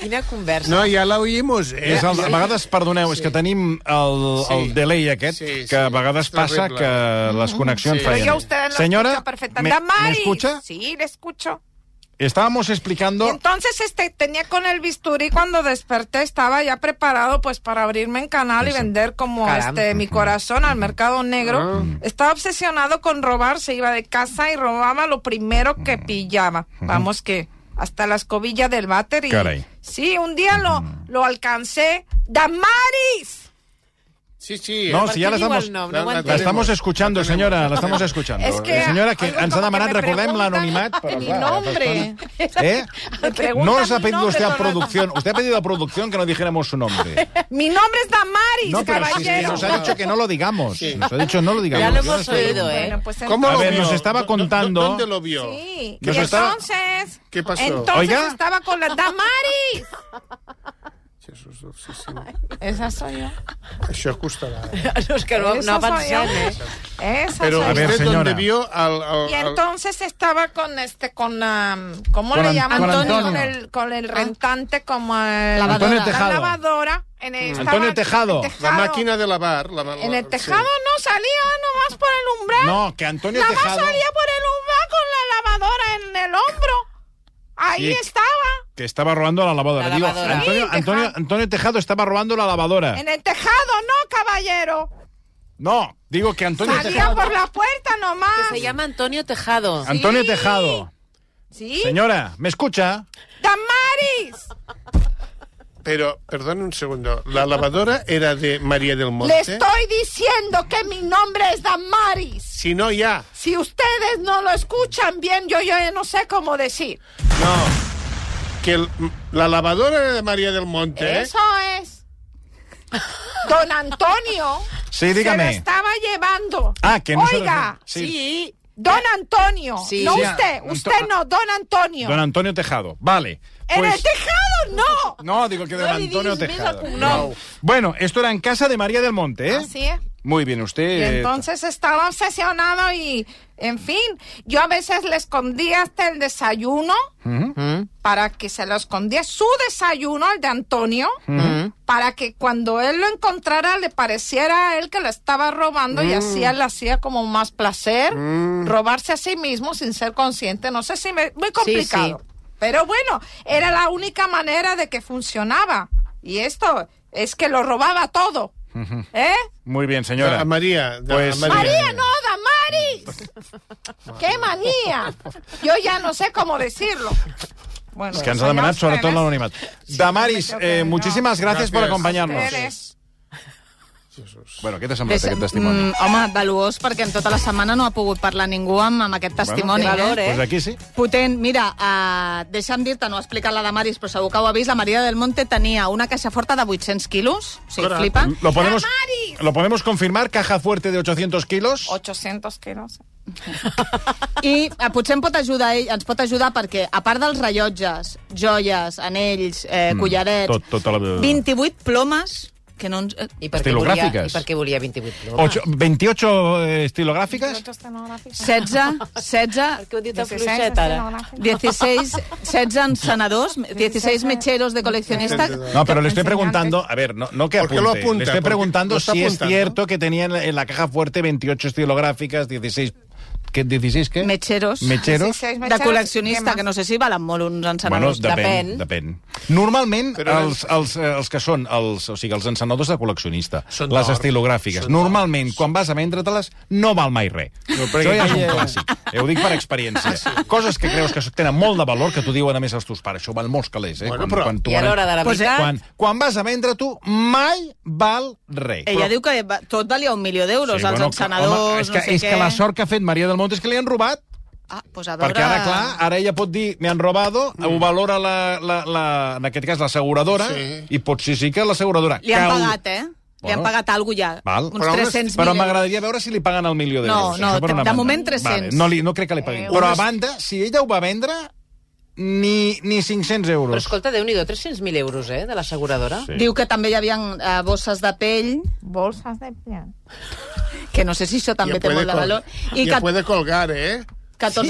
Speaker 1: Quina conversa.
Speaker 3: No,
Speaker 13: ja l'oïmos.
Speaker 5: Eh,
Speaker 3: És el, a vegades, perdoneu, sí. és que tenim el, el
Speaker 13: Sí.
Speaker 3: delay aquest, sí, sí, que a vegades
Speaker 13: és
Speaker 3: passa
Speaker 13: terrible.
Speaker 3: que les connexions sí.
Speaker 8: Pero
Speaker 3: fallen.
Speaker 8: yo a usted lo
Speaker 3: Senyora,
Speaker 8: escucho perfectamente.
Speaker 3: me, me
Speaker 8: Damaris.
Speaker 3: escucha?
Speaker 8: Sí, le escucho.
Speaker 3: Estábamos explicando...
Speaker 8: Entonces, este, tenía con el bisturí cuando desperté, estaba ya preparado pues para abrirme en canal y vender como
Speaker 9: Caramba.
Speaker 8: este mi corazón al mercado negro.
Speaker 3: Ah.
Speaker 8: Estaba obsesionado con robar, se iba de casa y robaba lo primero que pillaba. Vamos que hasta la escobilla del váter y...
Speaker 3: Caray.
Speaker 8: Sí, un día lo, lo alcancé. ¡Damaris!
Speaker 10: Sí, sí.
Speaker 3: No, si ja l'estamos... L'estamos escuchando, senyora, l'estamos escuchando.
Speaker 8: Es que,
Speaker 3: Eh, senyora, que
Speaker 8: algo
Speaker 3: ens ha
Speaker 8: como
Speaker 3: demanat,
Speaker 8: que me
Speaker 3: recordem
Speaker 8: preguntan
Speaker 3: l'anonimat, però
Speaker 8: mi
Speaker 3: clar...
Speaker 8: nombre.
Speaker 3: ¿Eh?
Speaker 8: Me preguntan
Speaker 3: No os ha
Speaker 8: mi
Speaker 3: pedido
Speaker 8: nombre
Speaker 3: usted a
Speaker 8: todo el-
Speaker 3: producción, usted ha pedido a producción que no dijéramos su nombre.
Speaker 8: Mi nombre es Damaris,
Speaker 3: No, pero sí, sí,
Speaker 8: caballero.
Speaker 3: nos ha dicho que no lo digamos. Nos ha dicho no lo digamos.
Speaker 8: Ya lo
Speaker 3: Yo no
Speaker 8: hemos
Speaker 3: estoy-
Speaker 8: oído, ¿eh? Bueno, pues
Speaker 3: a
Speaker 8: entonces-
Speaker 3: ver, nos
Speaker 8: ¿Dó-
Speaker 3: estaba contando...
Speaker 10: ¿Dónde lo vio?
Speaker 8: Sí,
Speaker 3: Nos
Speaker 8: y
Speaker 3: estaba-
Speaker 8: entonces...
Speaker 10: ¿Qué pasó?
Speaker 8: Entonces
Speaker 3: Oiga.
Speaker 8: estaba con la Damaris. Esa soy yo.
Speaker 10: Això costarà. eh?
Speaker 1: No, és que no,
Speaker 8: Esa
Speaker 1: no ha
Speaker 8: soy
Speaker 1: pensat,
Speaker 8: yo.
Speaker 1: eh?
Speaker 8: Esa
Speaker 10: Però
Speaker 8: soy yo.
Speaker 10: usted
Speaker 3: senyora.
Speaker 10: donde vio al... al,
Speaker 8: Y
Speaker 10: al...
Speaker 8: entonces estaba con este, con la, ¿cómo
Speaker 10: Con
Speaker 8: le
Speaker 10: An-
Speaker 8: llaman?
Speaker 10: con
Speaker 8: Antonio.
Speaker 10: Antonio.
Speaker 8: Con el, con el rentante, como el,
Speaker 10: Lavadora. Antonio
Speaker 8: la
Speaker 10: Tejado.
Speaker 8: lavadora. En el, estaba
Speaker 10: Antonio
Speaker 3: Tejado.
Speaker 8: el Tejado.
Speaker 10: La màquina de lavar. La, la,
Speaker 8: En el tejado no salía nomás por el umbral.
Speaker 3: No, que Antonio
Speaker 8: Nada más
Speaker 3: Tejado...
Speaker 8: salía por el umbral con la lavadora en el hombro. Ahí
Speaker 3: Y-
Speaker 8: estaba.
Speaker 3: Que estaba robando la lavadora.
Speaker 8: La
Speaker 3: Digo,
Speaker 8: lavadora.
Speaker 3: Antonio,
Speaker 8: Sí,
Speaker 3: Antonio, Antonio Tejado estaba robando la
Speaker 1: Ah.
Speaker 3: lavadora.
Speaker 8: En el tejado no, caballero.
Speaker 3: No, digo que Antonio
Speaker 8: Salía
Speaker 3: Tejado.
Speaker 8: por la puerta nomás.
Speaker 1: Que se llama Antonio Tejado.
Speaker 3: Antonio Tejado.
Speaker 8: Sí.
Speaker 3: Señora, ¿me escucha?
Speaker 8: ¡Damaris!
Speaker 10: Pero, perdón un segundo, la lavadora era de María del Monte.
Speaker 8: Le estoy diciendo que mi nombre es Damaris.
Speaker 10: Si no, ya.
Speaker 8: Si ustedes no lo escuchan bien, yo, yo ya no sé cómo decir.
Speaker 10: Que el- la lavadora era de María del Monte, ¿eh?
Speaker 8: Eso es. Don Antonio
Speaker 10: Sí,
Speaker 8: se
Speaker 10: dígame.
Speaker 8: lo estaba llevando.
Speaker 10: Ah, que no se lo-
Speaker 8: Oiga,
Speaker 3: sí.
Speaker 8: Don Antonio,
Speaker 3: Sí.
Speaker 8: no
Speaker 3: Sí,
Speaker 8: usted,
Speaker 3: Anto-
Speaker 8: usted no, Don Antonio.
Speaker 3: Don Antonio Tejado. Vale.
Speaker 8: en el
Speaker 3: Pues,
Speaker 8: tejado no.
Speaker 3: no, digo que de
Speaker 8: No li
Speaker 3: Antonio
Speaker 8: diguis més
Speaker 3: Tejado.
Speaker 8: el cognom.
Speaker 3: Bueno, esto era en casa de María del Monte, ¿eh?
Speaker 8: Así es.
Speaker 3: Muy bien, usted.
Speaker 8: Ah, Y
Speaker 3: eh,
Speaker 8: entonces estaba obsesionado y, en fin, yo a veces le escondía hasta el desayuno
Speaker 14: Mm-hmm.
Speaker 8: para que se lo escondía su desayuno, el de Antonio, para que cuando él lo encontrara le pareciera a él que lo estaba robando y
Speaker 14: Mm.
Speaker 8: hacía, le hacía como más placer robarse a sí mismo sin ser consciente. No sé si me... Muy complicado. Pero bueno, era la única manera de que funcionaba. Y esto es que lo robaba todo.
Speaker 3: ujú.
Speaker 8: ¿Eh?
Speaker 3: Muy bien, señora.
Speaker 10: A María. Ah, de-
Speaker 3: Pues-
Speaker 10: a
Speaker 8: María, no, Damaris. ¡Qué manía! Yo ya no sé cómo decirlo. Bueno,
Speaker 3: Es que ens ha demanat sobretot l'anonimat. Damaris, eh, muchísimas gracias, por
Speaker 10: Gracias.
Speaker 3: acompañarnos.
Speaker 4: Ustedes.
Speaker 3: Bueno, què t'ha semblat aquest testimoni?
Speaker 4: Mm, home, valuós, perquè en tota la setmana no ha pogut parlar ningú amb, amb aquest testimoni.
Speaker 3: Bueno,
Speaker 4: eh?
Speaker 3: Pues aquí sí.
Speaker 4: Potent, mira, uh, deixa'm dir-te, no ho ha explicat la de Maris, però segur que ho ha vist, la Maria del Monte tenia una caixa forta de 800 quilos, o sigui, flipa.
Speaker 3: Lo podemos, lo podemos confirmar, caja fuerte de 800 kilos.
Speaker 8: 800 quilos.
Speaker 4: I eh, potser em pot ajudar, ell, ens pot ajudar perquè, a part dels rellotges, joies, anells, eh,
Speaker 3: Mm,
Speaker 4: collarets,
Speaker 3: tot- tota la-
Speaker 4: 28 plomes, que no ens... eh,
Speaker 1: I
Speaker 3: per què volia- Estilogràfiques. i per
Speaker 1: Perquè volia 28 plomes.
Speaker 3: Ocho- 28 eh, estilográficas.
Speaker 4: 16, 16... Per què ho
Speaker 1: dit en fluixet, ara?
Speaker 4: 16, 16 encenadors, 16 mecheros de coleccionista...
Speaker 3: No, pero le estoy preguntando, a ver, no, no que
Speaker 10: ¿Por qué
Speaker 3: apunte,
Speaker 10: lo apunta?
Speaker 3: le estoy
Speaker 10: Porque
Speaker 3: preguntando
Speaker 10: lo está
Speaker 3: si es
Speaker 10: apuntando.
Speaker 3: cierto que tenía en la, en la caja fuerte 28 estilográficas, 16 aquest 16, què?
Speaker 4: Mecheros.
Speaker 3: Mecheros.
Speaker 4: De col·leccionista, que no sé si valen molt uns
Speaker 3: Bueno,
Speaker 4: encenedors.
Speaker 3: depèn, depèn. Normalment, els, els, eh, els que són els, o sigui, els encenedors de col·leccionista,
Speaker 15: Són
Speaker 3: les
Speaker 15: d'or.
Speaker 3: estilogràfiques,
Speaker 15: Són
Speaker 3: normalment, quan vas a vendre-te-les, no val mai res. No,
Speaker 15: perquè
Speaker 3: Això ja és un
Speaker 15: aquella-
Speaker 3: clàssic. Eh, ho dic per experiència.
Speaker 15: Ah,
Speaker 3: Coses que creus que tenen molt de valor, que t'ho diuen a més els teus pares. Això val molts calés, eh? Bueno, quan, quan tu
Speaker 1: I a
Speaker 3: vas-
Speaker 1: l'hora de la
Speaker 3: Pues, eh,
Speaker 1: veritat?
Speaker 3: Quan, quan vas a vendre, tu mai val res.
Speaker 4: Ella diu que va- tot valia un milió d'euros, els encenedors,
Speaker 3: home, és que,
Speaker 4: no sé
Speaker 3: és
Speaker 4: què...
Speaker 3: que la sort que ha fet Maria del Monte és que li han robat.
Speaker 4: Ah, pues a veure...
Speaker 3: Perquè ara, clar, ara ella pot dir, me han robado, mm. ho valora, la, la, la, en aquest cas, l'asseguradora, sí. i potser sí que l'asseguradora...
Speaker 4: Li han
Speaker 3: cau-
Speaker 4: pagat, eh? Li han
Speaker 3: Bueno.
Speaker 4: pagat alguna cosa ja.
Speaker 3: Val.
Speaker 4: Uns 300.000
Speaker 3: però
Speaker 4: euros.
Speaker 3: m'agradaria veure si li paguen el milió
Speaker 4: No,
Speaker 3: d'euros.
Speaker 4: no,
Speaker 3: Això per
Speaker 4: de-
Speaker 3: una
Speaker 4: de
Speaker 3: banda.
Speaker 4: moment 300.
Speaker 3: Vale. No, li, no crec que li paguin. però a
Speaker 1: unes-
Speaker 3: banda, si ella ho va vendre, ni, ni 500
Speaker 1: Però
Speaker 3: euros.
Speaker 1: escolta, déu nhi 300.000 euros, eh, de l'asseguradora.
Speaker 3: Sí.
Speaker 4: Diu que també hi havia eh, bosses de pell,
Speaker 11: Bolsas de piel.
Speaker 4: que no sé si això també
Speaker 10: Ya
Speaker 4: té
Speaker 10: puede
Speaker 4: molt de
Speaker 10: col-
Speaker 4: valor. I
Speaker 10: ya
Speaker 4: que
Speaker 10: puede colgar, eh?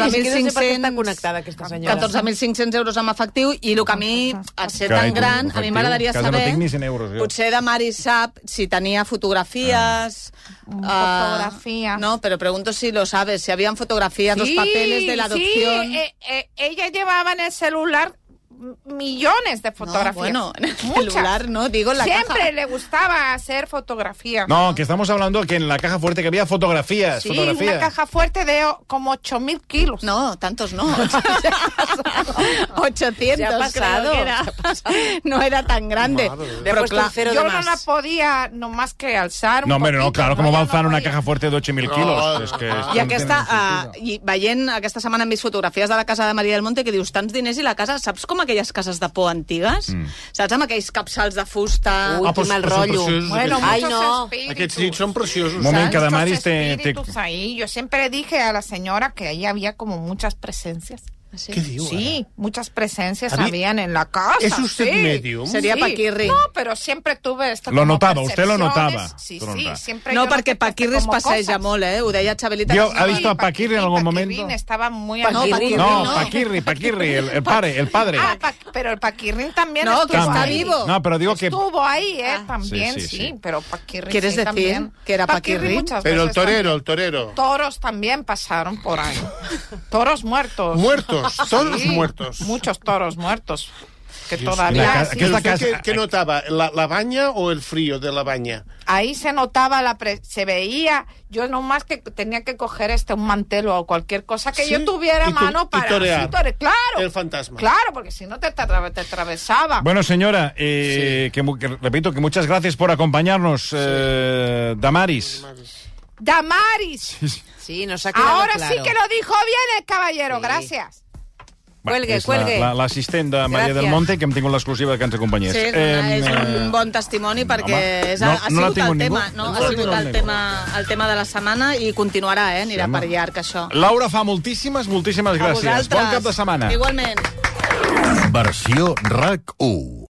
Speaker 1: està
Speaker 4: 14.500
Speaker 1: connectada aquesta senyora.
Speaker 4: 14.500 euros amb efectiu i el que a mi, al ser tan gran, a mi m'agradaria
Speaker 3: casa
Speaker 4: saber...
Speaker 3: No tinc ni 100 euros, jo.
Speaker 4: Potser de Mari sap si tenia fotografies... Ah.
Speaker 11: Fotografías.
Speaker 4: no, pero pregunto si lo sabes, si habían fotografías, los
Speaker 11: Sí,
Speaker 4: papeles de la adopción.
Speaker 11: Sí, eh, eh, ella llevaba en el celular m- millones de fotografías.
Speaker 4: bueno, en el
Speaker 11: Muchas.
Speaker 4: celular no, digo en la
Speaker 11: Siempre
Speaker 4: caja.
Speaker 11: le gustaba hacer fotografías.
Speaker 3: No, que estamos hablando que en la caja fuerte que había fotografías,
Speaker 11: Sí,
Speaker 3: fotografías.
Speaker 11: una caja fuerte de o- como 8.000 kilos.
Speaker 4: No, tantos no. 800
Speaker 1: Se ha pasado,
Speaker 4: creo que era.
Speaker 1: se ha
Speaker 4: No era tan grande.
Speaker 1: Le ha
Speaker 4: Pero
Speaker 1: puesto un
Speaker 4: claro,
Speaker 1: cero
Speaker 11: Yo
Speaker 1: de
Speaker 11: no
Speaker 1: más.
Speaker 11: la podía nomás que alzar un
Speaker 3: No, hombre, no,
Speaker 11: poquito,
Speaker 3: claro, com va
Speaker 11: Yo
Speaker 3: alzar
Speaker 11: no
Speaker 3: una
Speaker 11: podía.
Speaker 3: caja fuerte de 8.000 quilos?
Speaker 10: No,
Speaker 3: és que,
Speaker 4: I
Speaker 3: esto no
Speaker 4: aquesta,
Speaker 3: tiene sentido.
Speaker 4: uh, i veient aquesta setmana hem vist fotografies de la casa de Maria del Monte que dius tants diners i la casa, saps com aquelles cases de por antigues? Mm. Saps amb aquells capçals de fusta?
Speaker 1: Ui,
Speaker 3: Ah,
Speaker 1: quin
Speaker 3: pues-
Speaker 1: mal
Speaker 3: pues són
Speaker 1: rotllo.
Speaker 3: preciosos,
Speaker 11: Bueno,
Speaker 1: Ai,
Speaker 11: muchos
Speaker 1: no.
Speaker 11: espíritus.
Speaker 10: Aquests nits són preciosos.
Speaker 3: Un moment, que
Speaker 11: Muchos
Speaker 3: Damaris te... este, te...
Speaker 11: espíritus ahí. Yo siempre dije a la señora que ahí había como muchas presencias.
Speaker 10: ¿Qué digo,
Speaker 11: Sí, muchas presencias
Speaker 10: A mí-
Speaker 11: habían en la casa.
Speaker 10: ¿Es usted
Speaker 11: sí.
Speaker 10: medium?
Speaker 4: Sería
Speaker 11: Sí.
Speaker 4: paquirri.
Speaker 11: No, pero siempre tuve esto.
Speaker 3: Lo
Speaker 11: como
Speaker 3: notaba, usted lo
Speaker 11: percepciones.
Speaker 3: notaba.
Speaker 11: Sí,
Speaker 3: Tú lo
Speaker 11: sí,
Speaker 3: notabas.
Speaker 11: siempre.
Speaker 4: No,
Speaker 11: yo
Speaker 4: perquè
Speaker 11: noté
Speaker 4: Paquirri es
Speaker 11: como
Speaker 4: passeja
Speaker 11: cosas.
Speaker 4: molt, eh? Ho deia Xabelita.
Speaker 3: Dios,
Speaker 4: que
Speaker 3: ¿ha
Speaker 4: sí.
Speaker 3: visto a Paquirri en algún
Speaker 11: Paquirrín
Speaker 3: momento?
Speaker 11: estaba muy
Speaker 1: Paquirrín,
Speaker 3: No,
Speaker 11: enamorado.
Speaker 4: no.
Speaker 3: Paquirri, Paquirri, el, el padre, el padre.
Speaker 11: Ah, pa- pero el Paquirrín también
Speaker 4: No,
Speaker 11: estuvo
Speaker 4: que está
Speaker 11: ahí.
Speaker 4: vivo. Ah.
Speaker 3: No, pero digo que...
Speaker 11: Estuvo ahí, ¿eh? También,
Speaker 3: Sí,
Speaker 11: sí,
Speaker 3: sí, sí.
Speaker 11: pero Paquirrín
Speaker 4: ¿Quieres
Speaker 11: sí,
Speaker 4: decir
Speaker 11: también.
Speaker 4: que era Paquirrín?
Speaker 11: muchas
Speaker 10: Pero el
Speaker 11: veces también.
Speaker 10: torero, el torero.
Speaker 11: Toros también pasaron por ahí. Toros muertos.
Speaker 10: Muertos, todos
Speaker 11: Sí,
Speaker 10: muertos.
Speaker 11: Muchos toros muertos. Que
Speaker 3: La
Speaker 11: todavía
Speaker 3: ca-
Speaker 11: sí,
Speaker 3: que es la casa-
Speaker 10: ¿Qué, qué notaba? ¿La, la baña o el frío de la baña?
Speaker 11: ahí se notaba la pre- se veía. Yo nomás que tenía que coger este un mantel o cualquier cosa que
Speaker 10: Sí,
Speaker 11: yo tuviera a
Speaker 10: y tu-
Speaker 11: mano
Speaker 10: y
Speaker 11: para
Speaker 10: torear.
Speaker 11: sí, tore- claro.
Speaker 10: El fantasma.
Speaker 11: Claro, porque si no te, atra- te atravesaba.
Speaker 3: Bueno, señora, eh, que, mu- que repito que muchas gracias por acompañarnos, eh, Damaris.
Speaker 11: Damaris.
Speaker 1: Sí, nos ha quedado
Speaker 11: Ahora
Speaker 1: claro.
Speaker 11: sí que lo dijo bien el caballero. Gracias.
Speaker 3: Va,
Speaker 1: Cuelgue,
Speaker 3: és la-
Speaker 1: cuelgue.
Speaker 3: la- L'assistent de Maria
Speaker 1: Gràcies.
Speaker 3: del Monte, que hem tingut l'exclusiva que ens acompanyés.
Speaker 4: Sí, és, una,
Speaker 3: Em,
Speaker 4: és un
Speaker 3: eh,
Speaker 4: bon testimoni perquè
Speaker 3: home,
Speaker 4: és, ha,
Speaker 3: no-
Speaker 4: ha
Speaker 3: no la
Speaker 4: sigut
Speaker 3: tinc
Speaker 4: el
Speaker 3: ningú.
Speaker 4: tema, no?
Speaker 3: No
Speaker 4: ha
Speaker 3: la
Speaker 4: sigut
Speaker 3: tinc
Speaker 4: el
Speaker 3: ningú.
Speaker 4: tema, el tema de la setmana i continuarà, eh? Anirà
Speaker 3: Sí, home.
Speaker 4: per llarg, això.
Speaker 3: Laura fa moltíssimes, moltíssimes
Speaker 4: A
Speaker 3: gràcies. Bon
Speaker 4: vosaltres.
Speaker 3: cap de setmana.
Speaker 4: Igualment.
Speaker 16: Versió RAC 1.